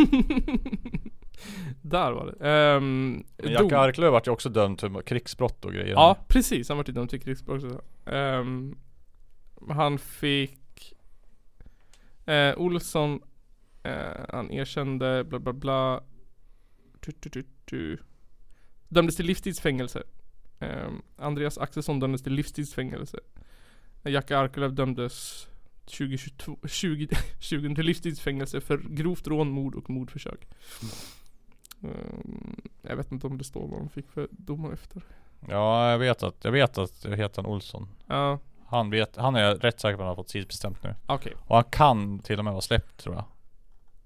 där var det. Ehm,
Men Jack
dom-
Arklöv vart ju också dömd för krigsbrott och grejer.
Ja precis, han var typ dömd till krigsbrott också. Ehm, han fick eh, Olsson, eh, han erkände bla bla bla. Tu, tu, tu, tu. Dömdes till livstidsfängelse. Ehm, Andreas Axelsson dömdes till livstidsfängelse. Jack Arkelöv dömdes 2022, *laughs* 20, 20 till livstidsfängelse för grovt rån, mord och mordförsök. Ehm, jag vet inte om det står vad de fick för domar efter.
Ja jag vet att, jag vet att det heter han Olsson.
Ja,
Han vet, han är jag rätt säker på att han har fått tidsbestämt nu.
okej.
Och han kan till och med vara släppt tror jag.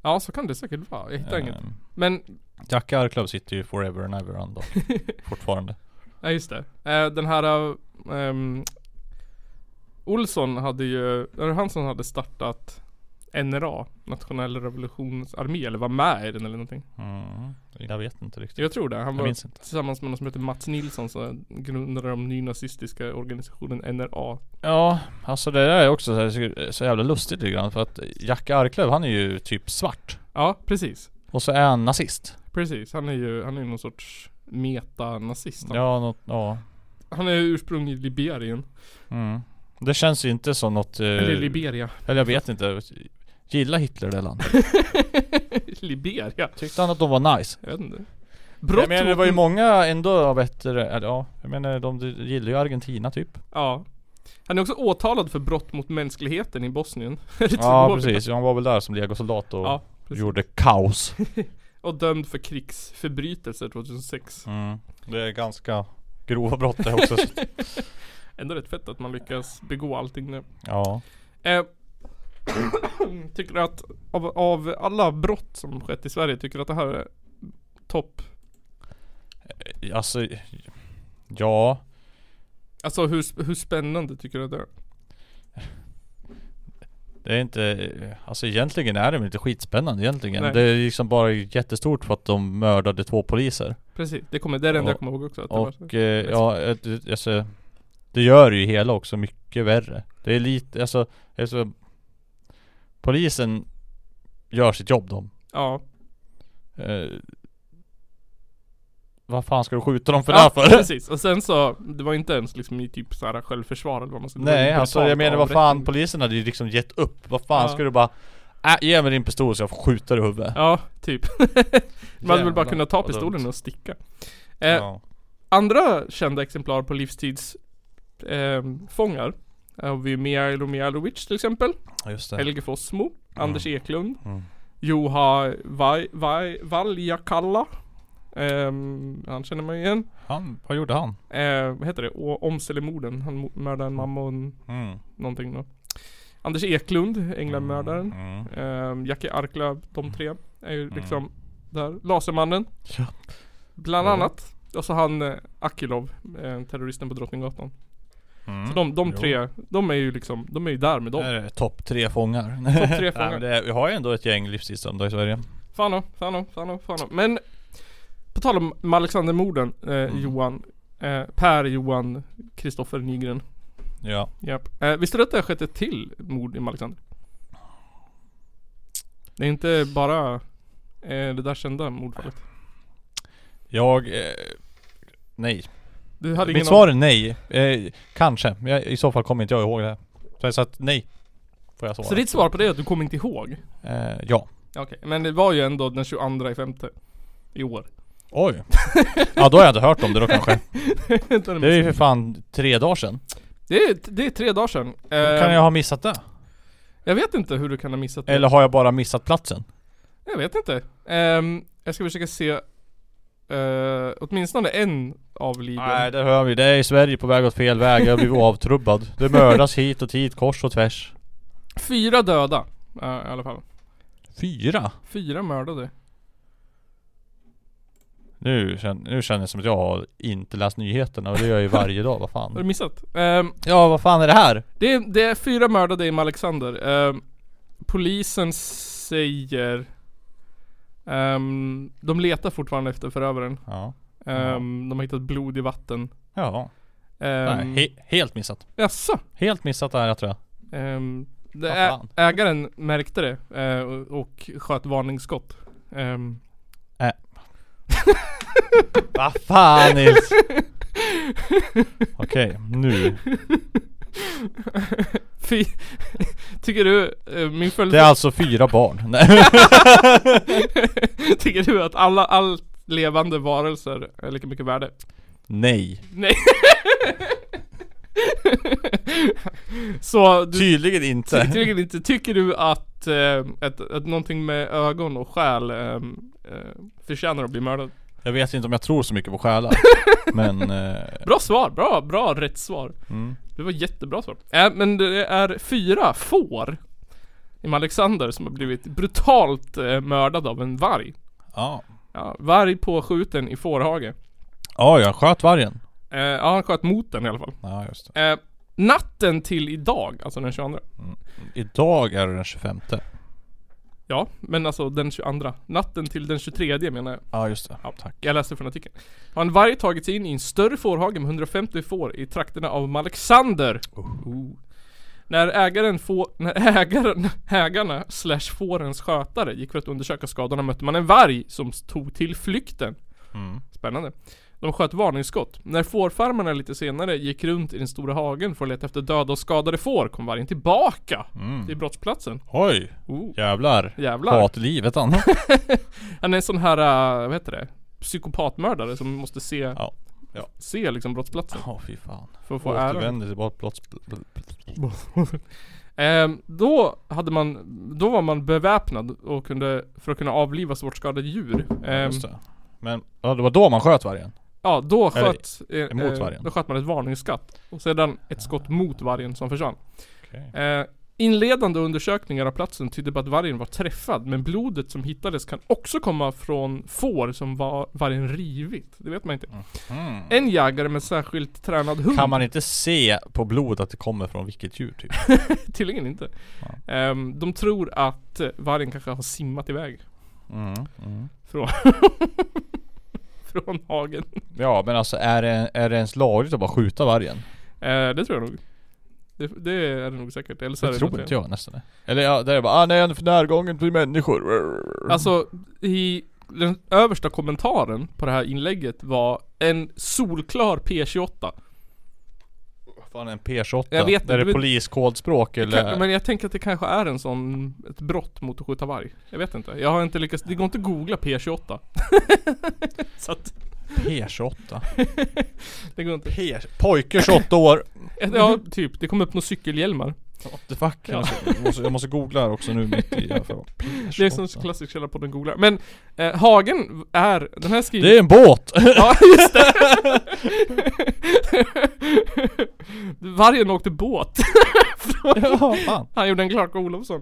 Ja så kan det säkert vara, jag hittar inget.
Ehm,
Men,
Jack Arklöv sitter ju forever and ever
*laughs*
han då. Fortfarande.
ja just det. Eh, den här um, Olsson hade ju, var det han som hade startat NRA? Nationell revolutionsarmé eller var med i den eller någonting.
Mm. Jag vet inte riktigt.
Jag tror det. Han
Jag
var
minns inte.
tillsammans med någon som heter Mats Nilsson så grundade de nynazistiska organisationen NRA.
Ja, alltså det där är också så, här, så jävla lustigt lite grann för att Jack Arklöv han är ju typ svart.
Ja precis.
Och så är han nazist.
Precis, han är ju, han är ju någon sorts metanazist. Han-
Ja, något, ja.
Han är ju ursprungligen i Liberien.
Mm. Det känns ju inte som något... eh,
Eller Liberia. *laughs*
eller jag vet inte. Gilla Hitler det landet.
Liberia?
Tyckte han att de var nice?
Jag vet inte.
Jag
Brott
menar det
mot-
var ju många ändå av ett... eller Ja, jag menar de gillar ju Argentina typ.
Ja. Han är också åtalad för brott mot mänskligheten i Bosnien. *laughs* Det är två
Ja
år
precis, han var väl där som legosoldat och
Ja, precis.
gjorde kaos.
Och dömd för krigsförbrytelser 2006.
Mm. Det är ganska grova brott det också.
Ändå rätt fett att man lyckas begå allting nu.
*laughs* ja.
Eh, *coughs* tycker du att av, av alla brott som skett i Sverige, tycker du att det här är topp?
Alltså... Ja.
Alltså hur, sp- hur spännande tycker du att det är?
Det är inte, alltså egentligen är det väl inte skitspännande egentligen.
Nej.
Det är liksom bara jättestort för att de mördade två poliser.
Precis, det, kommer, det är det enda jag
Och-
kommer ihåg också. Att det var så.
Och eh, ja, ett- alltså, det gör ju hela också mycket värre. Det är lite, alltså, alltså polisen gör sitt jobb de.
Ja,
Eh, vad fan ska du skjuta dem för
ja
det här
*laughs*
för?
precis. Och sen så, det var inte ens liksom i typ så här självförsvar eller vad man ska det var
Nej
ju
alltså
brutalt
jag menar vad fan,
avrättning.
polisen hade ju liksom gett upp. Vad fan
Ja.
ska du bara, äh, ge mig din pistol så jag får skjuta dig i huvudet.
Ja, typ. Man hade väl bara
Jävlar,
kunnat ta
vad
pistolen
dumt.
och sticka. Eh,
Ja.
Andra kända exemplar på livstidsfångar eh, fångar har vi Mijailo Mijailovic till exempel,
Ja, Just det.
Helge Fossmo, Anders Eklund,
Mm.
Juha Vai- Vai- Valjakalla. Ehm, han känner man igen.
Han, vad gjorde han?
Eh, vad heter det? Å- Åmselemorden. Han mo- mördade en mamma och en,
Mm.
någonting då. Anders Eklund, Änglamördaren.
Mm.
Um, Jackie Arklöv, de tre är ju liksom där. Lasermannen. Bland
Ja.
annat. Och så han eh, Akilov, eh, terroristen på Drottninggatan.
Mm.
Så de, de
Jo.
tre, de är ju liksom, de är ju där med
Det
dem.
här är topp tre fångar.
Topp
*laughs*
tre
Nej,
fångar.
men det är, vi har ju ändå ett gäng livstidsdömda i Sverige.
Fan och, fan och, fan och, fan och. Men på tal om om Alexandermorden, eh,
Mm.
Johan. Eh, per Johan Kristoffer Nygren.
Ja.
Japp. Eh, visste du att det har skett ett till mord i Malexander? Det är inte bara eh, det där kända mordfallet.
Jag... Eh, nej.
Du hade ingen
Mitt svar är nej. Eh, kanske. Jag, I så fall kommer inte jag ihåg det. här. Så jag sa att nej. Får jag svara.
Så ditt svar på det är att du kommer inte ihåg?
Eh, ja.
Okej, men det var ju ändå den 22 i femte i år.
Oj. ja då har jag inte hört om det
*laughs*
då kanske.
det, är,
Det är ju för fan tre dagar sedan.
det, är, det är tre dagar sedan. Eh,
Kan jag ha missat det?
jag vet inte hur du kan ha missat det.
Eller har jag bara missat platsen?
Jag vet inte. Ehm, jag ska försöka se eh, åtminstone en av liven.
Nej det hör vi. Det är i Sverige på väg åt fel väg. Jag har blivit avtrubbad. Det mördas hit och dit, kors och tvärs.
Fyra döda eh, i alla fall.
Fyra?
Fyra mördade.
Nu känner, nu känner jag som att jag har inte läst nyheterna och det *laughs* gör jag ju varje dag, vad
Har du
fan
missat? Ehm,
Ja vad fan är det här?
det, är, det är fyra mördade i Malexander. Ehm, polisen säger ehm, De letar fortfarande efter förövaren.
Ja.
Ehm, De har hittat blod i vatten.
Ja.
Um,
Nej, he- helt missat.
Jaså?
Helt missat det här tror jag.
Ehm, det
Vad
ä-
fan.
ägaren märkte det eh, och- och sköt varningsskott. Ehm, *laughs*
Äh. *laughs* Vad fan Nils? *laughs* Okej, *laughs* nu.
fy, *laughs* tycker du, eh, min
Det är
följdfråga,
alltså fyra barn. *laughs* Nej.
*laughs* tycker du att alla, allt levande varelser är lika mycket värde?
Nej.
Nej. Så du
Tydligen
ty-
inte.
tycker inte, tycker du att, eh, att, att någonting med ögon och själ eh, eh, förtjänar att bli mördad?
Jag vet inte om jag tror så mycket på *laughs* själar. Men... Eh,
Bra svar, bra, bra rätt svar.
mm.
Det var jättebra svar. Äh, men det är fyra får i Alexander som har blivit brutalt eh, mördad av en varg.
Ja.
Ja, varg påskjuten i fårhage.
Ja, jag sköt vargen.
Eh, ja, han sköt mot den i alla fall.
Ja, just det.
Eh, natten till idag, alltså den 22.
Idag är det den 25.
Ja, men alltså den 22. Natten till den 23 menar jag.
Ja, just det. Tack.
Jag läste från artikeln. Har en varg tagit sig in i en större fårhage med 150 får i trakterna av Alexander. Oh. När ägaren, få, när ägaren, *laughs* ägarna slash fårens skötare gick för att undersöka skadorna mötte man en varg som s- tog till flykten.
Mm.
Spännande. De sköt varningsskott. När fårfarmarna lite senare gick runt i den stora hagen för att leta efter döda och skadade får kom vargen tillbaka till brottsplatsen.
Mm. Oj!
Oh.
Typ. Jävlar.
Jävlar.
Hat livet han.
Han är en sån här, äh, vad heter det? Psykopatmördare som måste se,
Ja. Ja.
se liksom brottsplatsen
Ja, fy fan.
för att få äran.
Alltså. Återvänder till bara blott...
Ehm, då hade man, då var man beväpnad och kunde, för att kunna avliva svårt skadade djur. Ehm,
Just det. Men ja, det var då man sköt vargen.
ja, då
Eller
sköt, eh,
emot
eh,
vargen. Ah.
då sköt man ett varningsskatt. Och sedan ett skott mot vargen som försvann.
Okej.
Eh, inledande undersökningar av platsen tydde på att vargen var träffad, men blodet som hittades kan också komma från får som var, vargen rivit. Det vet man inte. En jägare med särskilt tränad hund
Mm. Hmm. Kan man inte se på blod att det kommer från vilket djur typ?
*laughs* Tydligen inte. Ehm, de tror att eh, vargen kanske har simmat iväg. *laughs* Mm, Från, från hagen.
Ja men alltså är det, är det ens lagligt att bara skjuta vargen?
Eh, det tror jag nog. Det, det är det nog säkert. Eller så
Det
är det något
tror inte
fel.
jag nästan. Eller ja, det är bara ah, nej han är för närgången till människor.
Alltså, i den översta kommentaren på det här inlägget var en solklar P28.
Vad fan är en P28?
Jag vet inte,
är det
men-
poliskodspråk eller?
Kan, men jag tänker att det kanske är en sån, ett brott mot att skjuta varg. Jag vet inte. Jag har inte lyckats, det går inte att googla P28. så att,
P28?
det går inte.
P... Pojke 28 år. *laughs*
Ja, typ. Det kom upp några cykelhjälmar.
What the fuck?
Ja.
Jag, måste, jag, måste, jag måste googla här också nu mitt i. här, för- P28.
alltså. Det är som klassisk källa på den googlar. Men eh, Hagen är, den här skriver...
Det är en båt!
Ja just det! *laughs* Vargen åkte båt.
ja, fan.
Han gjorde en Clark Olofsson.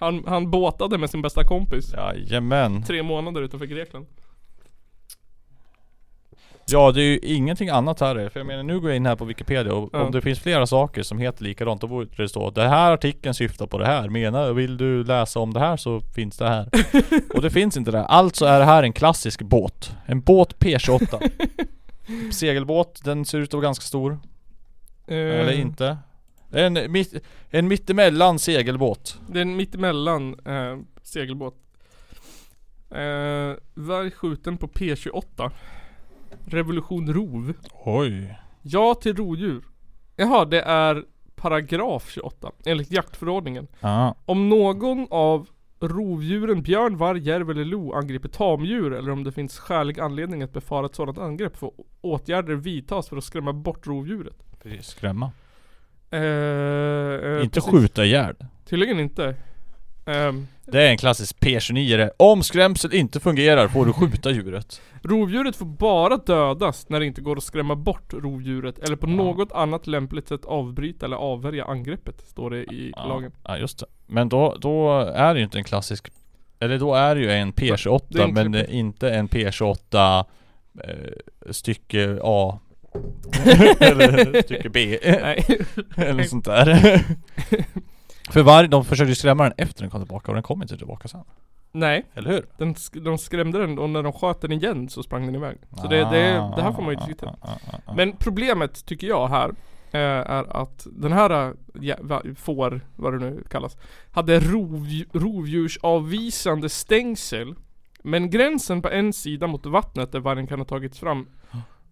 Han, han båtade med sin bästa kompis.
Jajamän.
Tre månader utanför Grekland.
Ja det är ju ingenting annat här för jag menar nu går jag in här på Wikipedia och
Ja.
om det finns flera saker som heter likadant då borde det stå Den här artikeln syftar på det här, menar vill du läsa om det här så finns det här Och det finns inte det här, alltså är det här en klassisk båt En båt P28 Segelbåt, den ser ut att vara ganska stor,
Eh,
eller inte En, mitt, en mittemellan segelbåt
Det är en mittemellan eh, segelbåt. Eh, varg skjuten på P28. Revolution rov.
Oj
Ja till rodjur. Jaha, det är paragraf 28 enligt jaktförordningen.
Ja,
Om någon av rovdjuren björn, varg, järv eller lo angriper tamdjur eller om det finns skälig anledning att befara ett sådant angrepp får åtgärder vidtas för att skrämma bort rovdjuret.
precis, skrämma
Eh, eh,
Inte
precis.
skjuta ihjäl
Tydligen inte. Ehm,
Det är en klassisk P29 Om skrämsel inte fungerar får du skjuta djuret
rovdjuret får bara dödas när det inte går att skrämma bort rovdjuret eller på något annat lämpligt sätt avbryta eller avvärja angreppet, står det i
Ja.
lagen.
Ja just det. Men då, då är det ju inte en klassisk Eller då är det ju en P28
Det är en
men det är inte en P28 eh, stycke A *laughs* Eller stycke B
Nej. *laughs*
eller sånt där För varje, de försökte ju skrämma den efter den kom tillbaka och den kom inte tillbaka sen.
Nej,
Eller hur?
den sk- de skrämde den och när de sköt den igen så sprang den iväg. Så det, det, det här får man ju titta
Ah, ah, ah, ah.
Men problemet tycker jag här eh, är att den här eh, ja, va- får, vad det nu kallas, hade rovdju- rovdjursavvisande stängsel. Men gränsen på en sida mot vattnet där vargen kan ha tagits fram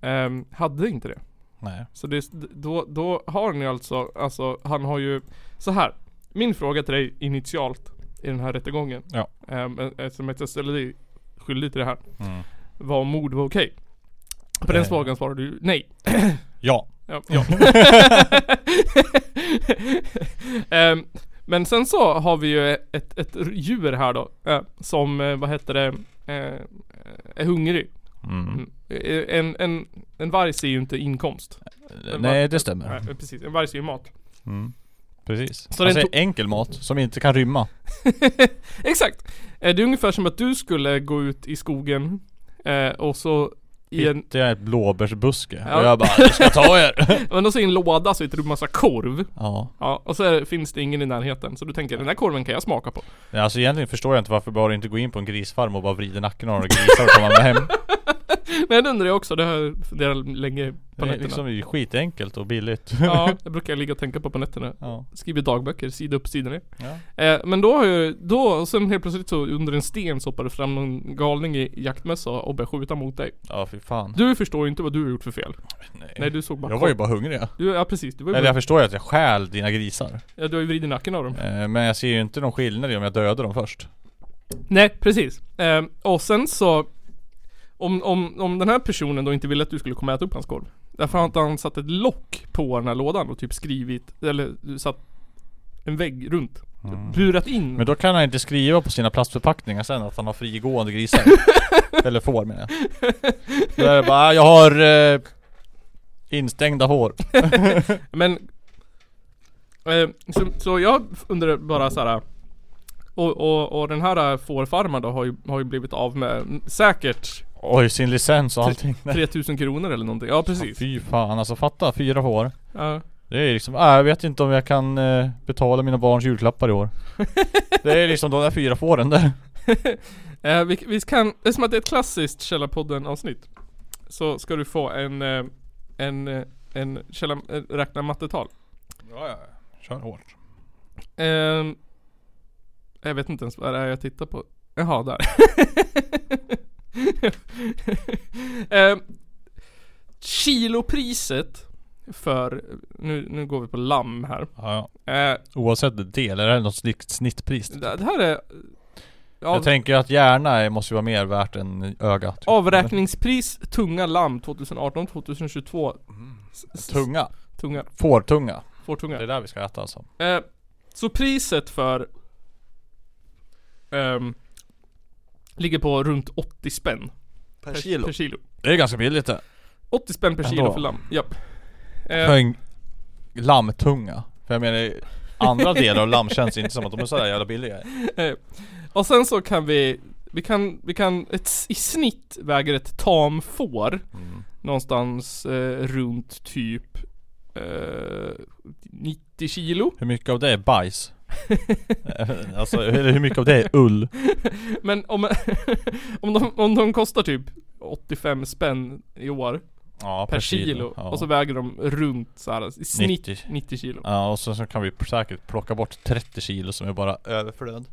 ehm, hade inte det.
Nej.
Så det, då, då har ni alltså, alltså han har ju, så här. Min fråga till dig initialt i den här rättegången.
Ja.
ehm, eftersom att jag ställde dig skyldig till det här.
Mm.
Var om mord var okej? På den
Eh.
frågan svarade du nej.
Ja.
Ja. ja. *laughs* Ehm, men sen så har vi ju ett, ett djur här då. eh, som, eh, vad heter det, eh, är hungrig.
Mm.
Mm. Eh, En, en, en varg ser ju inte inkomst. var-
Nej det stämmer.
Nej, precis, en varg ser ju mat.
Mm. Precis.
Så
Så
den
alltså,
tog-
enkel mat som inte kan rymma.
Exakt! Eh, Det är ungefär som att du skulle gå ut i skogen eh, och så i
*laughs*
en,
Hittar jag ett blåbärsbuske
Ja.
och jag bara jag ska
*laughs*
ta er.
men också i en låda så hittar du massa korv.
ja.
Ja, och så är, finns det ingen i närheten. Så du tänker den här korven kan jag smaka på.
Nej, Alltså egentligen förstår jag inte varför bara inte gå in på en grisfarm och bara vrida nacken av några grisar och komma med
*laughs*
hem.
Men det undrar jag också, det har jag funderat länge på
Det är
nätterna.
liksom skitenkelt
*laughs*
och billigt.
Ja, det brukar jag ligga och tänka på på nätterna.
ja.
Skriver dagböcker, sida upp, sida ner.
Ja.
Eh, men då har jag, då, och sen helt plötsligt så under en sten så hoppade det fram någon galning i jaktmössa och började skjuta mot dig.
Ja fy fan.
Du förstår ju inte vad du har gjort för fel. Nej du såg bara
jag var ju bara hungrig. ja.
Du, ja precis, du var ju
Eller jag
bara,
förstår ju att jag stjäl dina grisar.
ja, du har ju vridit nacken av dem.
Eh, Men jag ser ju inte någon skillnad i om jag dödar dem först.
Nej, precis. Eh, och sen så om, om, om den här personen då inte ville att du skulle komma och äta upp hans korv. Därför har inte han satt ett lock på den här lådan och typ skrivit, eller satt en vägg runt. Burat in.
Mm. Men då kan han inte skriva på sina plastförpackningar sen att han har frigående grisar. Eller får menar jag. Då är det bara, jag har eh, instängda hår.
Men eh, så, så jag undrar bara så här. Och, och, och den här eh, fårfarmaren då har ju, har ju blivit av med mm, säkert
Oj, sin licens och allting. Nej.
3000 kronor eller någonting. Ja precis.
Fy fan alltså fatta, fyra hår.
Ja.
Det är liksom, ah, jag vet inte om jag kan eh, betala mina barns julklappar i år. Det är liksom de där fyra fåren där.
Eh, vi, vi kan, eftersom att det är ett klassiskt Källarpodden avsnitt Så ska du få en, eh, en, eh, en källa, eh, räkna mattetal
Ja, ja. Kör hårt.
Ehm, Jag vet inte ens vad det är jag tittar på Jaha, där *laughs* Ehm, Kilopriset för, nu, nu går vi på lamm här
Ja, ja.
Eh,
Oavsett del, är det något snitt, snittpris?
Det det här är
Jag
av,
tänker att hjärna är- måste ju vara mer värt än öga. typ.
Avräkningspris tunga lamm 2018-2022
Tunga.
Tunga,
Fårtunga.
fårtunga
Det är där vi ska äta alltså.
Eh, så priset för ehm, Ligger på runt 80 spänn per, Per kilo.
Det är ganska billigt det.
80 spänn per kilo
Ändå.
för lamm, japp.
För
Eh,
en lammtunga. För jag menar, andra delar av lamm känns inte som att de är sådär jävla billiga.
och sen så kan vi Vi kan, vi kan, ett, i snitt väger ett tamfår
Mm.
Någonstans eh, runt typ eh, 90 kilo
Hur mycket av det är bajs? *laughs* alltså, eller hur mycket av det är ull?
*laughs* Men om, *laughs* om, de, om de kostar typ 85 spänn i år
Ja,
per, kilo,
Ja.
och så väger de runt så här, i snitt 90,
90.
kilo
Ja och sen så kan vi säkert plocka bort 30 kilo som är bara
*laughs*
överflöd.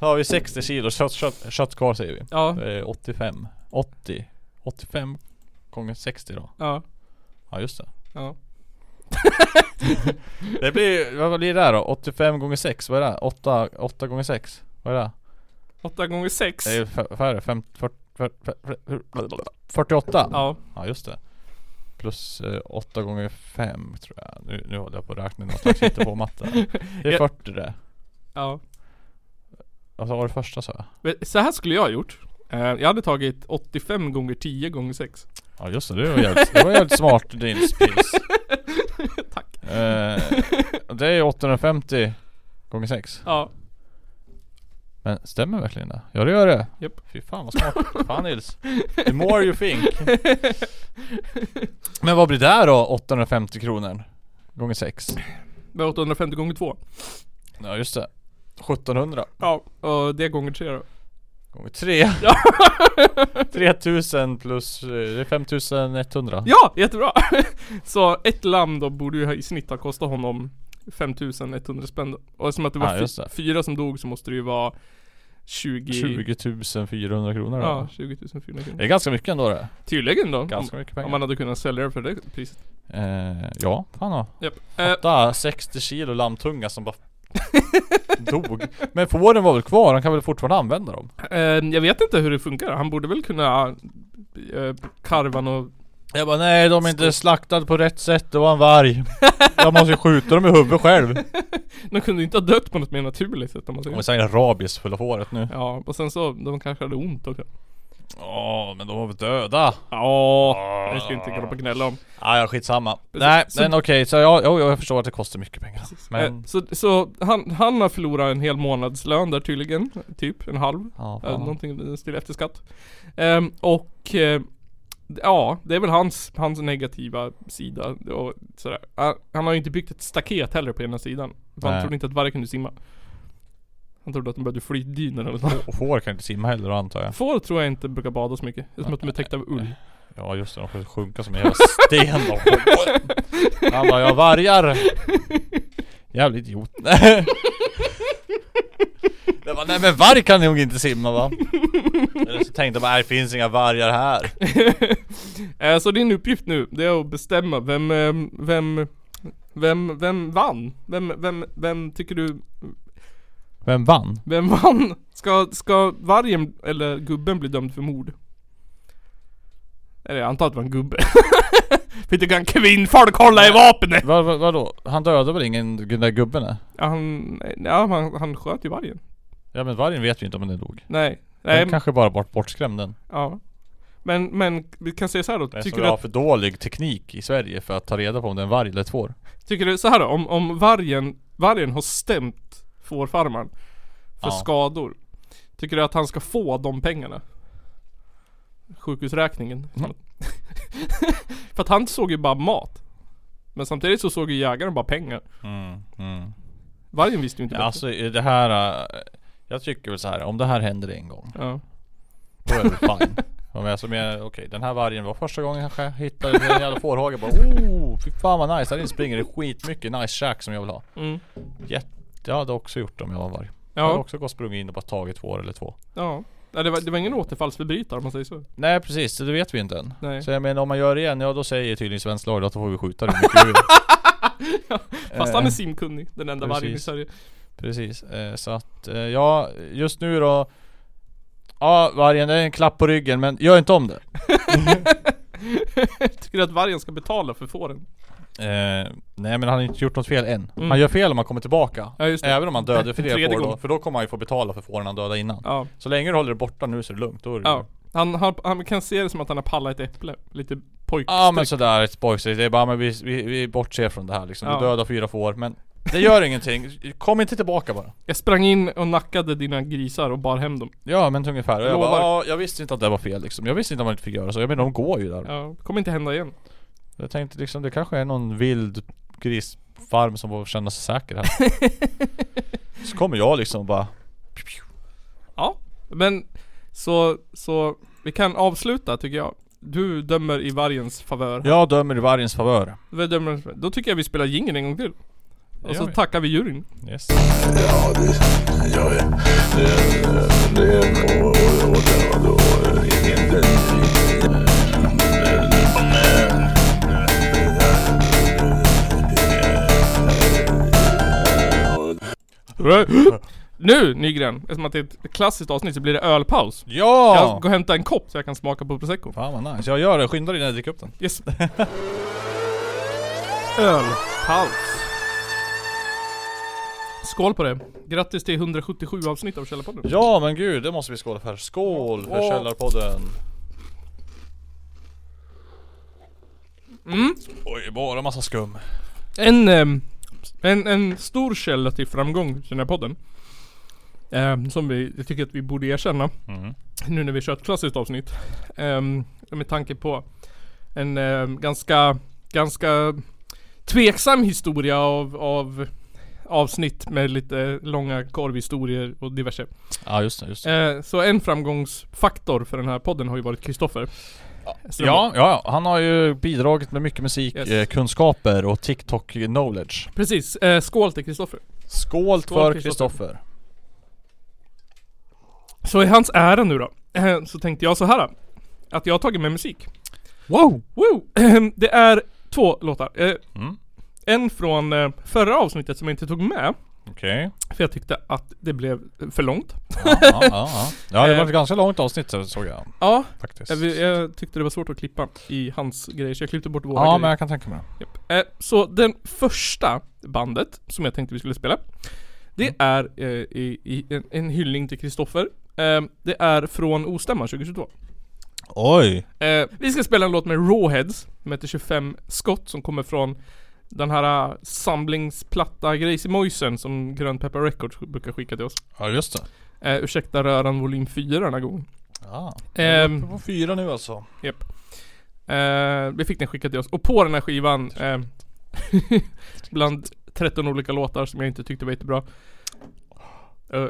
Då har vi 60 kilo kött, kött, kött kvar säger vi.
Ja,
Det är 85. 80. 85 gånger 60 då.
ja,
Ja just det.
ja
*laughs* Det blir, vad blir det där då? 85 gånger 6, vad är det? 8, 8 gånger 6? Vad är det?
8 gånger 6
Det är f- färre, 5, 40, 48?
Ja,
Ja just det. Plus 8 gånger 5 tror jag. Nu, nu håller jag på att räkna något slags hittar på matte. Det är
Ja.
40 det.
*laughs* ja
Alltså vad var det första sa jag?
Men Så här skulle jag ha gjort Eh, Jag hade tagit 85 gånger 10 gånger 6
Ja just det, det var jävligt, det var jävligt smart din spis.
*laughs* Tack
Eh, det är 850 gånger 6.
Ja,
Men stämmer verkligen det? Ja det gör det.
Japp.
Fy fan
*laughs*
vad smart. fan Nils. The more you think. Men vad blir det här då? 850 kronor? Gånger 6.
Det är 850 gånger 2.
Ja just det 1700
Ja, och det gånger 3 då.
gånger 3 *laughs* 3000 plus, eh, det är 5100
Ja, jättebra! *laughs* Så ett lamm då borde ju ha- i snitt ha kostat honom 5100 spänn då. Och eftersom att det var
Ja,
fy-
just det.
fyra som dog så måste det ju vara 20...
20 400 kronor
Ja,
ja.
20 400 kronor.
Det är ganska mycket ändå det
Tydligen då. Om,
Ganska mycket
om
pengar
man hade kunnat sälja det för det priset.
eh, Ja, fan ja
Japp. Eh,
Där, 60 kilo lammtunga som bara *laughs* dog Men fåren var väl kvar? Han kan väl fortfarande använda dem?
eh, jag vet inte hur det funkar. Han borde väl kunna eh, karva och
Jag bara nej de är inte slaktade på rätt sätt, det var en varg Jag måste ju skjuta dem i huvudet själv
De kunde inte ha dött på något mer naturligt sätt om man
De
säger.
är säkert rabies fulla fåret nu
Ja, och sen så, de kanske hade ont också.
Ja men de var väl döda?
Ja, det ska inte grabba gnälla om.
Ah, ja skitsamma
Så-
Nej
så-
men okej, så jag, jag, jag förstår att det kostar mycket pengar
Eh,
Men,
Så, så han, han har förlorat en hel månadslön där tydligen. Typ en halv.
ja,
Ja.
fan.
Någonting i den stilen efter skatt. Ehm, och eh, d- ja, det är väl hans, hans negativa sida och sådär. Ah, Han har ju inte byggt ett staket heller på ena sidan. För han
Nej.
trodde inte att varje kunde simma. Han trodde att de behövde flygdynor eller
*laughs*
något.
Och får kan inte simma heller antar jag
Får tror jag inte brukar bada så mycket. Det är som att de är täckta av ull.
Ja just det, de får sjunka som en jävla sten
*laughs*
då. Han bara, jag vargar! Jävla idiot. *laughs* Jag bara, nej men varg kan nog inte simma va? Eller så tänkte jag bara, "Nej, det finns inga vargar här.
*laughs* Eh, Så din uppgift nu, det är att bestämma vem, eh, vem, vem, vem vann? Vem, vem, vem tycker du,
Vem vann?
vem *laughs* vann? Ska, ska vargen eller gubben bli dömd för mord? Eller jag antar att det var en gubbe. *laughs* för inte kan kvinnfolk hålla i vapnet!
Vad, vad, vadå? Han dödade väl ingen den där gubben? nej?
Ja, han, ja, han, han sköt ju vargen.
Ja men vargen vet vi inte om den dog.
Nej.
Den
Nej, men,
kanske bara varit bortskrämd den.
ja. Men, men vi kan säga så här då.
Tycker
Tycker
vi
du,
har
att,
för dålig teknik i Sverige för att ta reda på om det är en varg eller ett får.
tycker du så här då? Om, om vargen, vargen har stämt fårfarmaren för
Ja.
skador. Tycker du att han ska få de pengarna? Sjukhusräkningen.
Mm.
*laughs* För att han såg ju bara mat. Men samtidigt så såg ju jägaren bara pengar.
Mm, mm.
Vargen visste ju inte
Ja,
bättre.
alltså i det här... eh, Jag tycker väl så här, om det här händer en gång
Ja.
Då är det
*laughs*
fine. Om jag som är, okej den här vargen var första gången kanske jag hittade en jävla fårhage bara oh, fy fan vad nice, här inne springer det skitmycket nice käk som jag vill ha.
Mm.
Jätte, jag hade också gjort det om jag var varg. Jag hade
Ja.
också gått och sprungit in och bara tagit två eller två.
ja. ja det, var, det var ingen återfallsförbrytare om man säger så.
Nej precis, det vet vi inte än.
Nej.
Så jag menar om man gör det igen, ja då säger tydligen svensk lag att då får vi skjuta det
*laughs*
mycket vi vill.
Fast
Eh,
han är simkunnig. Den enda vargen i
precis.
Sverige.
Precis, eh, så att eh, ja, just nu då Ja vargen, det är en klapp på ryggen men gör inte om det.
Tycker du att vargen ska betala för fåren?
Eh, nej men han har inte gjort något fel än.
Mm.
Han gör fel om han kommer tillbaka.
Ja, just det.
Även om han dödar fler
Tredje
får då.
gången.
För då kommer han ju få betala för fåren han dödade innan.
Ja.
Så länge du håller det borta nu så är det lugnt. Då är det
Ja. Han, han, han kan se det som att han har pallat ett äpple. Lite pojk...
Ja men sådär ett spoilstreak. Det är bara men vi, vi, vi bortser från det här liksom.
Ja.
Du dödar fyra får men det gör ingenting. Kom inte tillbaka bara.
Jag sprang in och nackade dina grisar och bar hem dem.
Ja men ungefär. Och jag
Lovar.
bara, ja, jag visste inte att det var fel liksom. Jag visste inte att man inte fick göra så. Jag menar de går ju där.
Ja, det kommer inte hända igen.
Jag tänkte liksom det kanske är någon vild grisfarm som får känna sig säker
*laughs*
här. så kommer jag liksom och bara
Ja, men så, så vi kan avsluta tycker jag. Du dömer i vargens favör.
Jag dömer i vargens favör.
Vi dömer, då tycker jag vi spelar jingeln en gång till. Och
gör
så
vi.
tackar vi juryn.
Yes.
Ja, det gör jag. Det- Det är och- och- och det var då ingen...
*laughs* Nu Nygren, eftersom att det är ett klassiskt avsnitt så blir det ölpaus.
Ja!
Jag går och hämtar en kopp så jag kan smaka på prosecco.
Fan vad nice, jag gör det. Skynda dig innan jag dricker upp den.
Yes. Ölpaus. Skål på det. Grattis till 177 avsnitt av Källarpodden.
Ja men gud, det måste vi skåla för. Skål för
Åh.
Källarpodden! Mm. Oj, bara massa skum.
En, ehm, en, en stor källa till framgång för den här podden. ehm, som vi, jag tycker att vi borde erkänna.
Mm.
Nu när vi kör ett klassiskt avsnitt. ehm, med tanke på en ehm, ganska, ganska tveksam historia av, av avsnitt med lite långa korvhistorier och diverse.
Ja just det, just det.
Eh, så en framgångsfaktor för den här podden har ju varit Kristoffer. Så-
Ja, ja, ja, han har ju bidragit med mycket musikkunskaper
Yes.
eh, kunskaper och TikTok knowledge
Precis, eh, skål till Kristoffer.
Skål,
Skål,
för
Christopher.
Kristoffer!
Så i hans ära nu då, eh, så tänkte jag så här. Att jag har tagit med musik.
Wow!
Wow! *clears throat* Det är två låtar. Eh,
Mm.
En från eh, förra avsnittet som jag inte tog med.
Okej
För jag tyckte att det blev för långt.
ja, ja, ja, ja. ja, det
Eh.
var ett ganska långt avsnitt så- såg jag
Ja,
faktiskt
jag, jag tyckte det var svårt att klippa i hans grejer så jag klippte bort våra
Ja
grejer.
men jag kan tänka mig det
Japp. Eh, så den första bandet som jag tänkte vi skulle spela Det är eh, i, i, en, en hyllning till Kristoffer eh, Det är från Ostämman 2022
Oj!
eh, Vi ska spela en låt med Rawheads Som heter 25 skott som kommer från Den här eh, samlingsplatta Gracie Moisen som Grön Pepper Records brukar skicka till oss
Ja just det
eh, Ursäkta röran volym 4 den här gången
Ja,
Ehm.
på fyra nu alltså
Eh, vi fick den skickad till oss. Och på den här skivan, eh, *laughs* bland 13 olika låtar som jag inte tyckte var jättebra. Eh,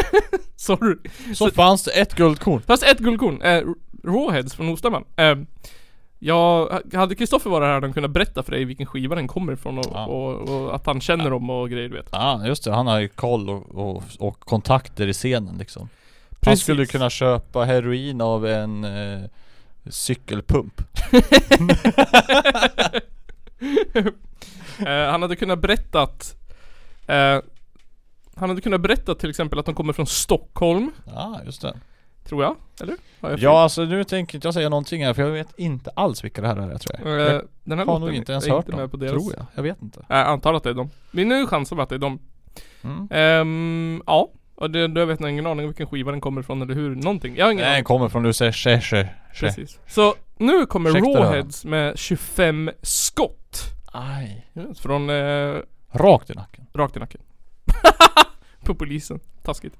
*laughs* sorry.
Så fanns det ett guldkorn
Fast ett guldkorn. Eh, Rawheads från Ostämman. Eh, jag, hade Kristoffer varit här hade han kunnat berätta för dig vilken skiva den kommer ifrån och,
Ja.
och, och att han känner dem och grejer du vet.
Ja just det, han har ju koll och, och, och kontakter i scenen liksom Han
Precis.
skulle ju kunna köpa heroin av en eh, cykelpump
Eh, han hade kunnat berättat eh, Han hade kunnat berätta till exempel att de kommer från Stockholm,
Ja just det
tror jag. Eller? Har jag fel?
Ja alltså nu tänker inte jag säga någonting här för jag vet inte alls vilka det här är jag tror jag.
Eh,
jag
den här
har
låten
nog inte ens
är
hört
inte med
dem,
på deras... Eh,
tror jag. Jag vet inte.
jag. Jag antar att det är dem. Men nu chansar vi att det är dem.
Mm.
Ehm, ja. Och det, då vet jag ingen aning om vilken skiva den kommer ifrån eller hur, någonting. Jag har ingen
Nej,
aning.
kommer från USA, tje, tje, tje.
Precis. Så nu kommer
Ursäkta då.
Rawheads med 25 skott.
Aj.
Yes, Från eh,
Rakt i nacken.
rakt i nacken. *laughs* på polisen. Taskigt.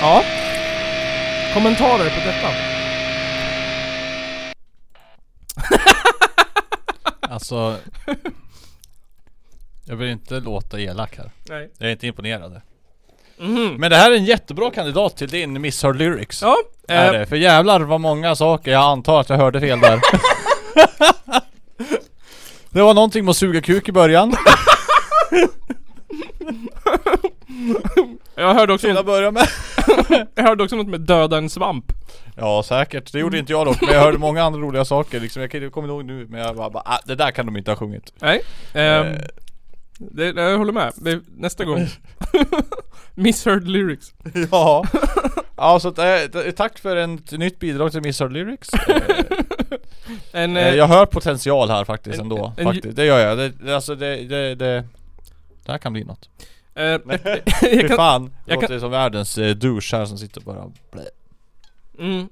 Ja. Kommentarer på detta? *laughs*
Alltså... Jag vill inte låta elak här.
Nej.
Jag är inte imponerad. Men det här är en jättebra kandidat till din Missar Lyrics.
Mhm. Ja.
är
Eh,
det? För jävlar vad många saker jag antar att jag hörde
*laughs*
fel där. det var någonting med att suga kuk
*laughs*
i början.
jag, hörde också något,
börja med.
jag hörde också något med döda en svamp.
Ja säkert, det gjorde inte jag dock men jag hörde många andra roliga saker liksom. Jag kan- jag kommer ihåg nu men jag bara, bara ah, det där kan de inte ha sjungit.
Nej. ehm,
Eh.
det, jag håller med. Det, nästa
*laughs*
gång. Misheard lyrics.
Ja. Ja så att, eh, t- tack för en- ett nytt bidrag till
*laughs*
Missar Lyrics.
En,
Eh,
eh,
jag hör potential här faktiskt
En-
ändå.
en-
faktiskt. Det gör jag. Det, det, alltså det, det, det, det här kan bli något.
eh,
Fy
*laughs* jag kan,
fan. Det
jag
låter som världens eh, douche här som sitter och bara blä.
mm,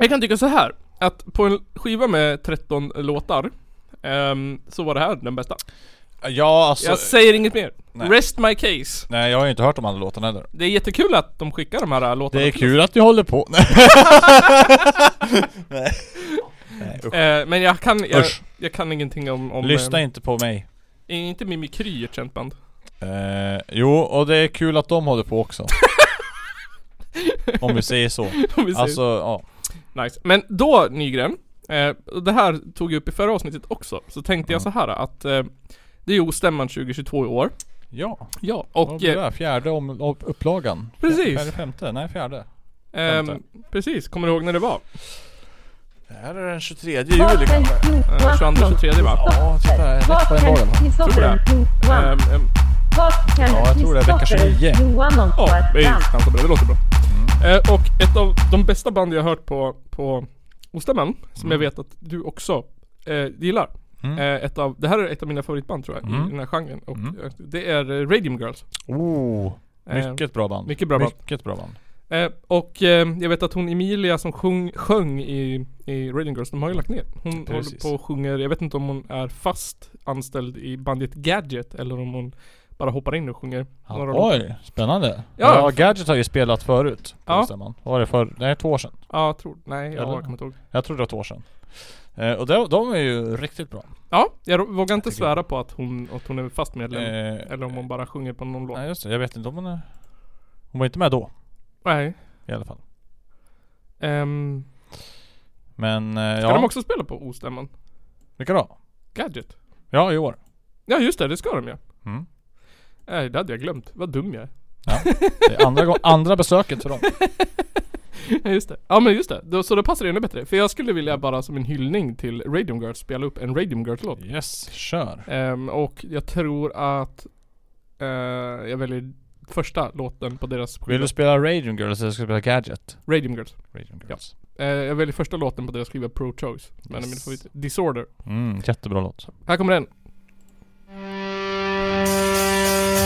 jag kan tycka så här Att på en skiva med 13 låtar ehm, Så var det här den bästa.
Ja alltså.
Jag säger inget mer.
Nej.
Rest my case.
Nej jag har ju inte hört de andra låtarna heller.
Det är jättekul att de skickar de här äh, låtarna.
Det är kul att vi
*laughs*
håller på.
Eh, men jag kan, jag,
Usch.
jag kan ingenting om... om
Lyssna
eh,
inte på mig.
är inte Mimikry ett känt band? *laughs*
Eh, jo, och det är kul att de håller på också. Om vi
*laughs*
säger så.
Om vi säger
Alltså, ja.
Nice. Men då Nygren, eh, och det här tog jag upp i förra avsnittet också, så tänkte jag så här att eh, det är ju stämman 2022 i år.
Ja,
Ja,
vad
och
blir det?
eh,
här? Fjärde om, om upplagan.
Precis.
Fjärde, femte? Nej, fjärde.
ehm,
femte?
precis, kommer du ihåg när det var? Eh,
Det här är den 23 juli kanske.
Eh, 22-23 va?
Ja, titta. Det är rätt på den dagen.
Tror det. Ehm, ehm,
Ja, jag tror det är vecka 29.
Ja, vi chansar på det, det låter bra. Eh, och ett av de bästa band jag har hört på, på Ostämman, som jag vet att du också eh, gillar. Eh, ett av, det här är ett av mina favoritband tror jag, i den här genren. Och, eh, det är eh, Radium Girls.
Oh,
Eh,
mycket bra band.
mycket bra band.
Mycket bra band.
Eh, och eh, jag vet att hon Emilia som sjung, sjöng i, i Radium Girls, de har ju lagt ner. Hon
Precis.
håller på och sjunger, jag vet inte om hon är fast anställd i bandet Gadget eller om hon bara hoppar in och sjunger
Ja,
några låtar.
oj, spännande.
Ja.
Ja. Gadget har ju spelat förut. på
Ja.
Stämman. Vad var det för? Nej, två år sedan.
Ja, jag tror, nej jag
Eller?
kommer inte ihåg.
Jag tror det var två år sedan. Eh, och de, de är ju riktigt bra.
Ja, jag ro- vågar inte svära på att hon, att hon är fast medlem.
Eh,
eller om hon bara sjunger på någon låt.
Nej just det, jag vet inte om hon är... Hon var inte med då
Nej.
i alla fall.
Ehm,
Men eh,
ska de
ja,
också spela på Ostämman?
vilka då?
Gadget?
Ja i år.
Ja just det, det ska de ju.
Mm.
Nej, det hade jag glömt. Vad dum jag är.
Det är andra, gång, andra besöket
*laughs*
för dem.
Ja just det. Ja men just det. Då, så då passar det ännu bättre. För jag skulle vilja bara som en hyllning till Radium Girls spela upp en Radium Girls-låt.
Yes, kör.
Ehm, och jag tror att eh, jag väljer första låten på deras
Vill
skiva.
du spela Radium Girls eller ska du spela Gadget?
Radium Girls.
Radium Girls.
Eh, jag väljer första låten på deras skiva Pro Choice. Men
Yes.
min favorit. Disorder.
Mm, jättebra låt.
Här kommer den.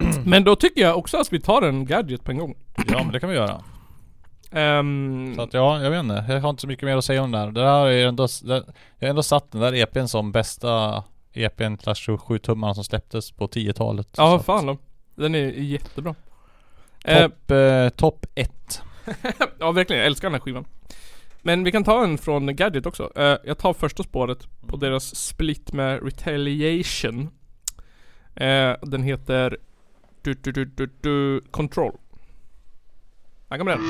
Mm.
Men då tycker jag också att vi tar en Gadget på en gång.
Ja men det kan vi göra.
Ehm,
Så att ja, jag vet inte. Jag har inte så mycket mer att säga om det här. Det här är ändå, det, jag har ändå satt den där EPn som bästa EPn slash 27 tummarna som släpptes på 10-talet. Så
ja
att-
fan då. Den är jättebra. Eh,
Topp eh, top 1.
ja verkligen, jag älskar den här skivan. Men vi kan ta en från Gadget också. Eh, jag tar första spåret på deras split med Retaliation. Eh, den heter du, du, du, du, du, Control. Här kommer den.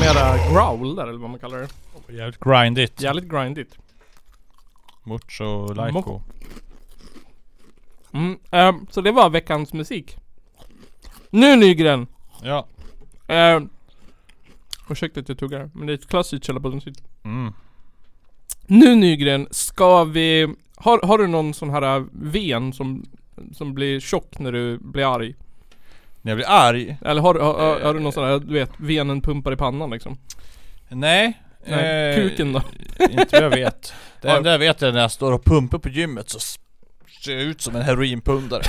mera growl där eller vad man kallar det.
Jävligt grindigt.
Jävligt grindigt.
Mucho Laiko.
Mm, ehm, så det var veckans musik. Nu Nygren!
Ja.
Um, ursäkta att jag tuggar, men det är ett klassiskt Källarpodden-sitt.
Mm.
Nu Nygren, ska vi... Har, har du någon sån här äh, ven som, som blir tjock när du blir arg?
När jag blir arg?
Eller har, har, har, har du någon sån här, du vet, venen pumpar i pannan liksom?
Nej.
Nej,
Eh,
kuken då?
*laughs*
*laughs*
Inte vad jag vet. Det
Ja.
enda jag vet är när jag står och pumpar på gymmet så ser jag ut som
*laughs*
en heroinpundare.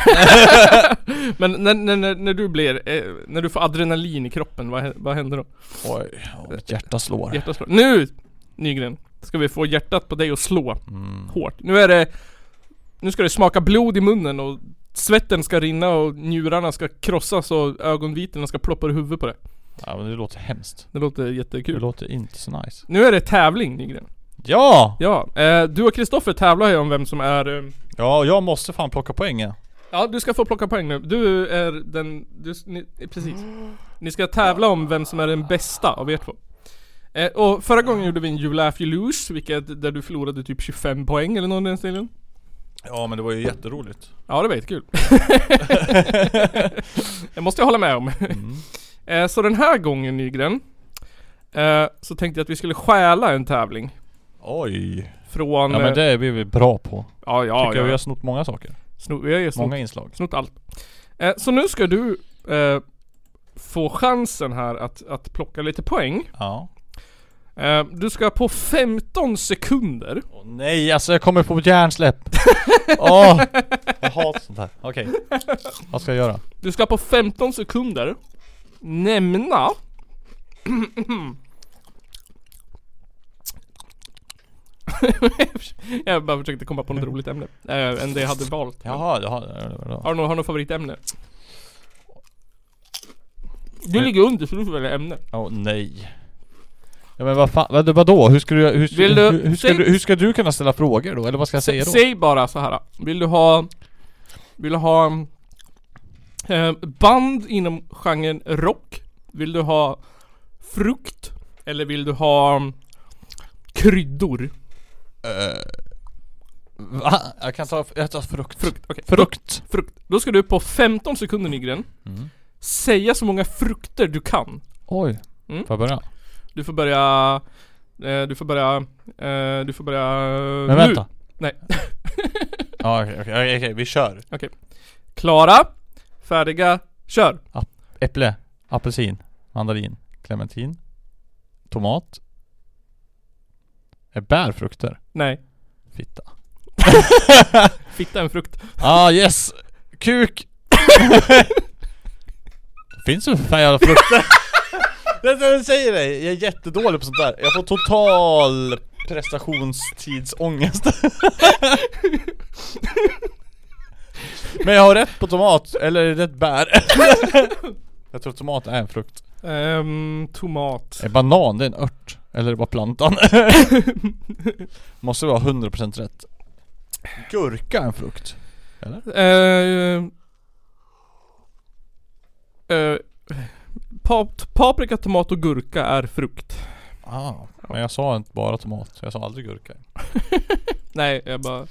Men när, när, när, när du blir, eh, när du får adrenalin i kroppen, vad, hä- vad händer då?
Oj, ja, mitt hjärta slår.
Hjärtat slår. Nu! Nygren! Ska vi få hjärtat på dig att slå
Mm.
hårt. Nu är det... Nu ska det smaka blod i munnen och svetten ska rinna och njurarna ska krossas och ögonvitorna ska ploppa i huvudet på det.
Ja men det låter hemskt.
Det låter
Det
jättekul.
låter inte så nice.
Nu är det tävling Nygren.
Ja!
Ja, eh, du och Kristoffer tävlar ju om vem som är... Eh,
Ja, jag måste fan plocka poängen.
ja, du ska få plocka poäng nu. Du är den... Du, s- ni, eh, precis. Ni ska tävla om vem som är den bästa av er två. Eh, och förra gången gjorde vi en You Laugh You Lose, vilket, där du förlorade typ 25 poäng eller något i den stilen.
Ja men det var ju jätteroligt.
Ja, det var jättekul. *laughs* det måste jag hålla med om. *laughs*
Mm.
Eh, Så den här gången Nygren, eh, så tänkte jag att vi skulle stjäla en tävling.
Oj.
Från... eh,
Ja men det är vi väl bra på.
ja,
Tycker
ja,
jag vi har
ja.
snott många saker.
Sno, vi har ju snott,
Många inslag.
snott allt. Eh, Så nu ska du eh, få chansen här att, att plocka lite poäng.
Ja.
Eh, Du ska på 15 sekunder.
Åh nej alltså jag kommer få ett hjärnsläpp. *laughs* Åh! Jag hatar sånt här. Okej. Vad ska jag göra?
Du ska på 15 sekunder nämna *clears throat* Jag bara försökte komma på något roligt ämne. Äh, än det jag hade valt.
Jaha, jaha.
Har du något, har du något favoritämne? Du ligger under så du får välja ämne.
Åh nej. Ja men vad fan, vad, vadå? Hur ska du, hur, ska-
Vill du-
hur, hur, ska
säg-
du, hur ska du kunna ställa frågor då? Eller vad ska jag säga då?
Säg bara så här. Vill du ha... Vill du ha... eh, band inom genren rock? Vill du ha frukt? Eller vill du ha mm, kryddor?
Va? Jag kan ta, jag tar frukt.
Frukt, okej.
Frukt. Mm.
Frukt. Då ska du på 15 sekunder Nygren säga så många frukter du kan.
Oj.
Mm.
Får jag börja?
Du får börja... eh, du får börja... eh, du får börja...
Men
nu.
vänta.
Nej.
*laughs* Ja okej, okej, okej, okej, vi kör.
Klara, färdiga, kör!
Äpple, apelsin, mandarin, clementin, tomat. Är bärfrukter?
Nej,
Fitta.
fitta en frukt.
Ah yes! *laughs* Kuk! Finns det för fan jävla frukter? *laughs* Det är det jag säger dig, jag är jättedålig på sånt där. Jag får total *laughs* prestationstidsångest. Men jag har rätt på tomat, eller är det ett bär? *laughs* jag tror tomat är en frukt.
Ehm, tomat.
Är banan, det är en ört. Eller är det bara *laughs* plantan? Måste vara 100% rätt. Gurka är en frukt. Eller?
Ehm... eh, pap- paprika, tomat och gurka är frukt.
Ah, men jag sa inte bara tomat, jag sa aldrig gurka.
Nej, jag bara...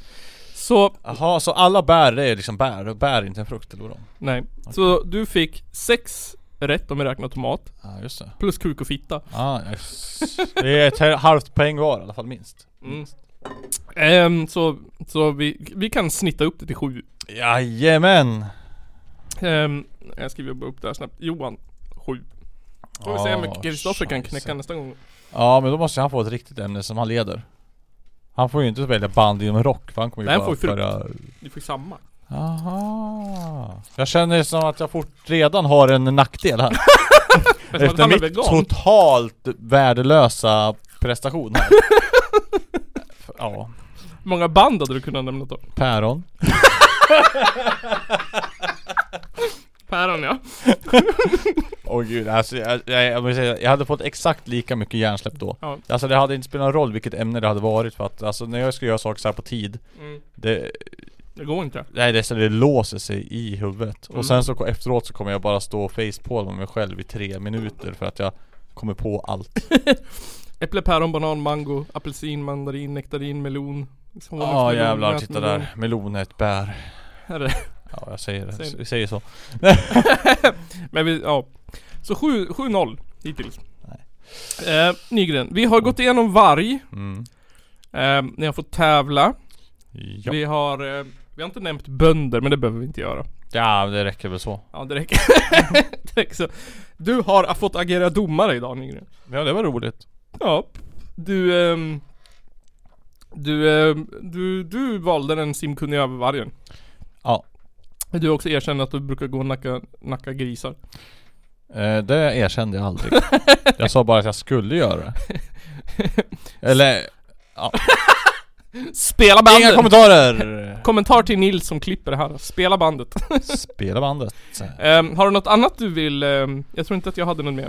Så,
Jaha, så alla bär det är liksom bär, och bär är inte en frukt eller vadå?
nej. Så du fick sex rätt om vi räknar tomat.
Ja ah, just det.
Plus kuk och fitta.
Ah, yes. *laughs* Det är ett he- halvt poäng var i alla fall minst.
Mm. Ehm, så så vi, vi kan snitta upp det till sju.
Jajamän!
Ehm, jag skriver bara upp det här snabbt. Johan, sju. Får vi se hur
Ah,
mycket Kristoffer kan knäcka nästa gång.
Ja men då måste han få ett riktigt ämne som han leder. Han får ju inte välja band inom rock för han kommer ju
Nej, han
bara
får ju frukt.
börja-
Du fick samma.
Aha. Jag känner det som att jag fort redan har en nackdel *laughs* här.
Eftersom att han
Efter
är
mitt
vegan.
totalt värdelösa prestation *laughs* här. ja,
Hur många band hade du kunnat nämna då?
päron.
Päron ja.
Åh gud, alltså jag, jag, jag, vill säga, jag hade fått exakt lika mycket hjärnsläpp då.
Ja.
Alltså det hade inte spelat någon roll vilket ämne det hade varit för att alltså när jag ska göra saker så här på tid
Mm.
det,
Det går inte.
Nej det, är så det låser sig i huvudet
Mm.
och sen så ko- efteråt så kommer jag bara stå och facepalma mig själv i tre minuter för att jag Kommer på allt.
Äpple, päron, banan, mango, apelsin, mandarin, nektarin, melon. honungsmelon,
Ja jävlar, titta
nätmelon.
där. Melon är ett bär.
Här är det.
Ja jag säger det,
Säg-
vi säger så.
Men vi, ja. Så sju- 7-0 hittills. Eh, Nygren, vi har gått igenom varg.
Mm.
Eh, ni har fått tävla.
Ja.
Vi har, eh, vi har inte nämnt bönder men det behöver vi inte göra.
ja, det räcker väl så.
Ja det
*laughs*
räcker. det räcker så. Du har fått agera domare idag Nygren.
Ja det var roligt.
Ja. Du, ehm, du, ehm, du, du valde den simkunniga över vargen.
Ja.
Du har också erkänt att du brukar gå och nacka, nacka grisar.
Eh, det erkände jag aldrig. *laughs* jag sa bara att jag skulle göra det. *laughs* Eller,
Spela
inga
bandet!
*laughs* kommentarer!
Kommentar till Nils som klipper det här. Spela bandet.
Spela bandet.
Ehm, har du något annat du vill? ehm, jag tror inte att jag hade något mer.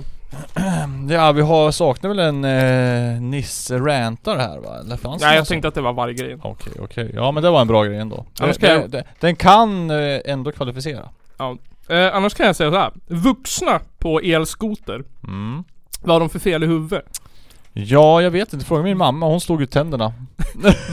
Ja vi har, saknar väl en eh, Nisse-rantare här va? Eller fanns det
Nej
någon
jag
sån?
tänkte att det var varggrejen.
Okej, okej. Ja men det var en bra grej ändå.
Ja, men
Det-
ska jag-
det- det- Den kan eh, ändå kvalificera.
Eh, annars kan jag säga så här. Vuxna på elskoter.
Mm.
Vad har de för fel i huvudet?
Ja, jag vet inte. Fråga min mamma. Hon slog ut tänderna.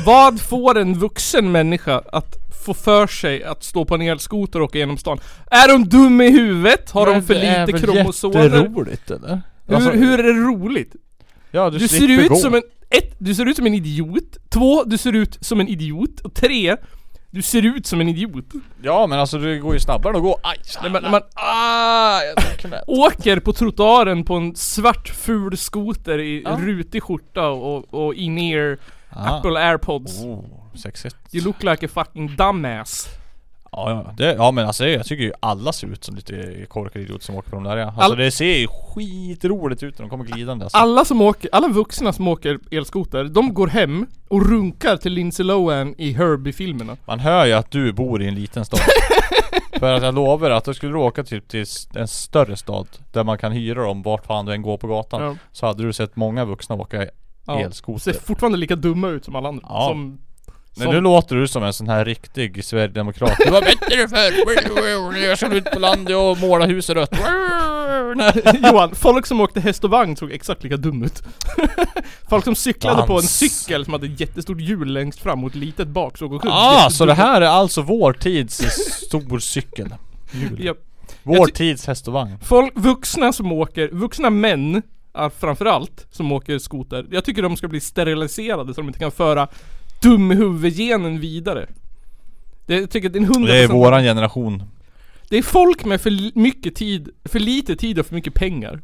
Vad får en vuxen människa att få för sig att stå på en elskoter och åka genom stan? Är de dum i huvudet? Har de för lite
Det är väl
kromosomer?
jätteroligt eller?
Hur,
Alltså,
hur är det roligt?
Ja, du,
Du ser
slipper
ut
gå.
som en... Ett, du ser ut som en idiot. Två, du ser ut som en idiot. Och tre, du ser ut som en idiot.
Ja men alltså det går ju snabbare än att gå. Aj!
Nej, men, man,
Ah! Jag tog *laughs* knät.
åker på trottoaren på en svart ful skoter i
Ja.
rutig skjorta och, och in-ear
Ah.
Apple airpods.
Oh, sexigt.
You look like a fucking dumbass.
Ja, ja. Det, ja men alltså det- jag tycker ju alla ser ut som lite korkade idioter som åker på de där ja. Alltså
All-
det ser ju skitroligt ut när de kommer glidande alltså.
Alla som åker, alla vuxna som åker elskoter, de går hem och runkar till Lindsay Lohan i Herbie-filmerna.
Man hör ju att du bor i en
*laughs*
liten stad. För att jag lovar att du skulle du åka typ till s- en större stad där man kan hyra dem vart fan du än går på gatan.
Ja.
Så hade du sett många vuxna åka
Ser
elskoter.
fortfarande lika dumma ut som alla andra.
Ja.
Som,
Men nu
som
låter du som en sån här riktig Sverigedemokrat. Det var bättre förr! Jag skulle ut på landet och måla
*laughs*
huset rött.
Johan, folk som åkte häst och vagn såg exakt lika dum ut. *laughs* folk som cyklade på en
Dans.
cykel som hade ett jättestort hjul längst fram och ett litet bak såg också
Ah, så
jättedum
det
ut.
här är alltså vår tids storcykel.
Japp.
Vår
Jag ty-
tids häst och vagn.
Folk, vuxna som åker, vuxna män är framförallt som åker skoter. Jag tycker de ska bli steriliserade så de inte kan föra dumhuvudgenen vidare. Det, jag tycker att det är en 100%
Det är våran generation.
det är folk med för li- mycket tid, för lite tid och för mycket pengar.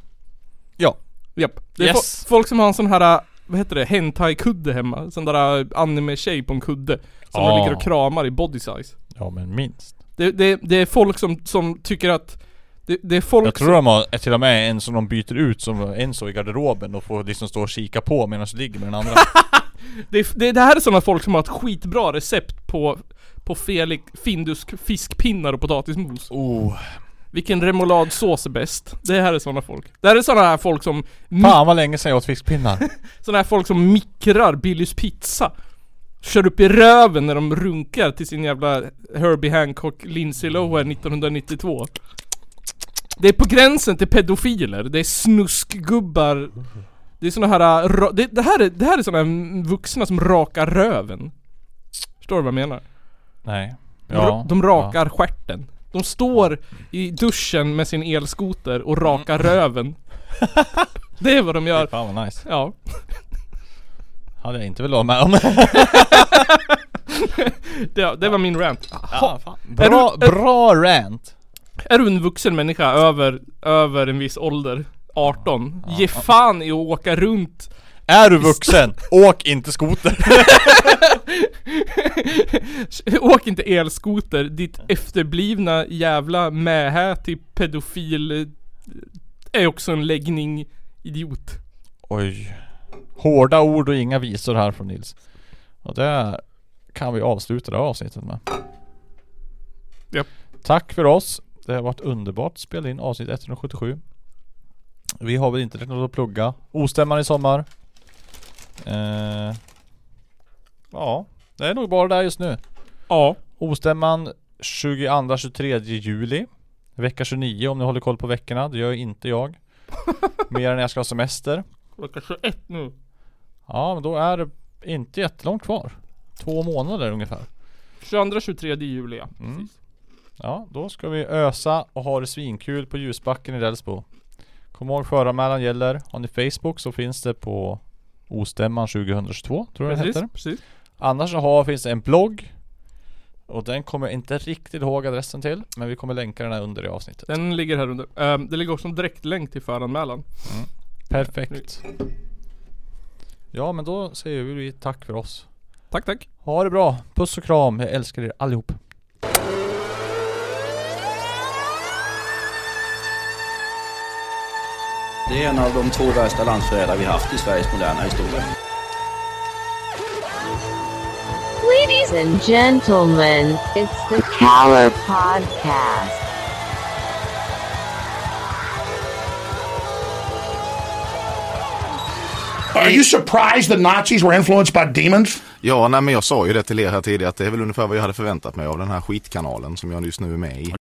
Ja.
Japp. Det är
Yes.
fo- folk som har en sån här, äh, vad heter det, hentai-kudde hemma. Sån där äh, anime-tjej på en kudde. Som de
Ah.
ligger och kramar i body size.
Ja men minst.
Det, det, det är folk som, som tycker att det, det är folk
Jag
som,
tror de har till och med en som de byter ut som en så i garderoben och får liksom stå och kika på medan de ligger med
*laughs*
den andra
det, är- det, det här är såna folk som har ett skitbra recept på, på Felix Findusk fiskpinnar och potatismos.
oh.
Vilken remouladsås är bäst? Det här är såna folk. Det här är såna här folk som
Fan vad länge sedan jag åt fiskpinnar
Sådana här folk som mikrar Billys pizza Kör upp i röven när de runkar till sin jävla Herbie Hancock Lindsay Lohan 1992 Det är på gränsen till pedofiler, det är snuskgubbar Det är såna här, äh, ra- det, det här är, det här är såna här vuxna som rakar röven Förstår du vad jag menar?
Nej
De, ra- de rakar stjärten De står i duschen med sin elskoter och rakar röven Det är vad de
ja.
gör,
Fan vad nice
ja
Hade jag inte velat vara med om
Det, det var min rant.
ja, fan. Bra, bra rant
Är du en vuxen människa över, över en viss ålder, 18, ge fan i att åka runt. *laughs*
Är du vuxen, åk inte skoter
Åk inte elskoter, ditt efterblivna jävla mähä till pedofil eh, är också en läggning idiot.
Oj Hårda ord och inga visor här från Nils Och där kan vi avsluta det här avsnittet med
Japp.
Tack för oss Det har varit underbart att spela in avsnitt 177 Vi har väl inte något att plugga Ostämman i sommar eh, Ja Det är nog bara där just nu
Ja.
Ostämman 22-23 juli Vecka 29 om ni håller koll på veckorna, det gör inte jag Mer än när jag ska ha semester
Klockan 21 nu.
Ja men då är det inte jättelångt kvar Två månader ungefär
22-23 juli ja. Precis.
Ja då ska vi ösa och ha det svinkul på ljusbacken i Delsbo Kom ihåg föranmälan gäller Har ni Facebook så finns det på Ostämman 2022 tror jag det
Precis,
heter
precis.
Annars så har, finns det en blogg Och den kommer jag inte riktigt ihåg adressen till Men vi kommer länka den här under i avsnittet
Den ligger här under. Ehm, det ligger också en direktlänk till föranmälan.
Perfekt Ja men då säger vi tack för oss
Tack tack.
Ha det bra, puss och kram, jag älskar er allihop
Det är en av de två värsta landsförrädare vi haft i Sveriges moderna historia.
Ladies and gentlemen, it's the Cower Podcast.
Are you surprised that Nazis were influenced by demons?
Ja, nej, men jag sa ju det till er här tidigare att det är väl ungefär vad jag hade förväntat mig av den här skitkanalen som jag just nu är med i.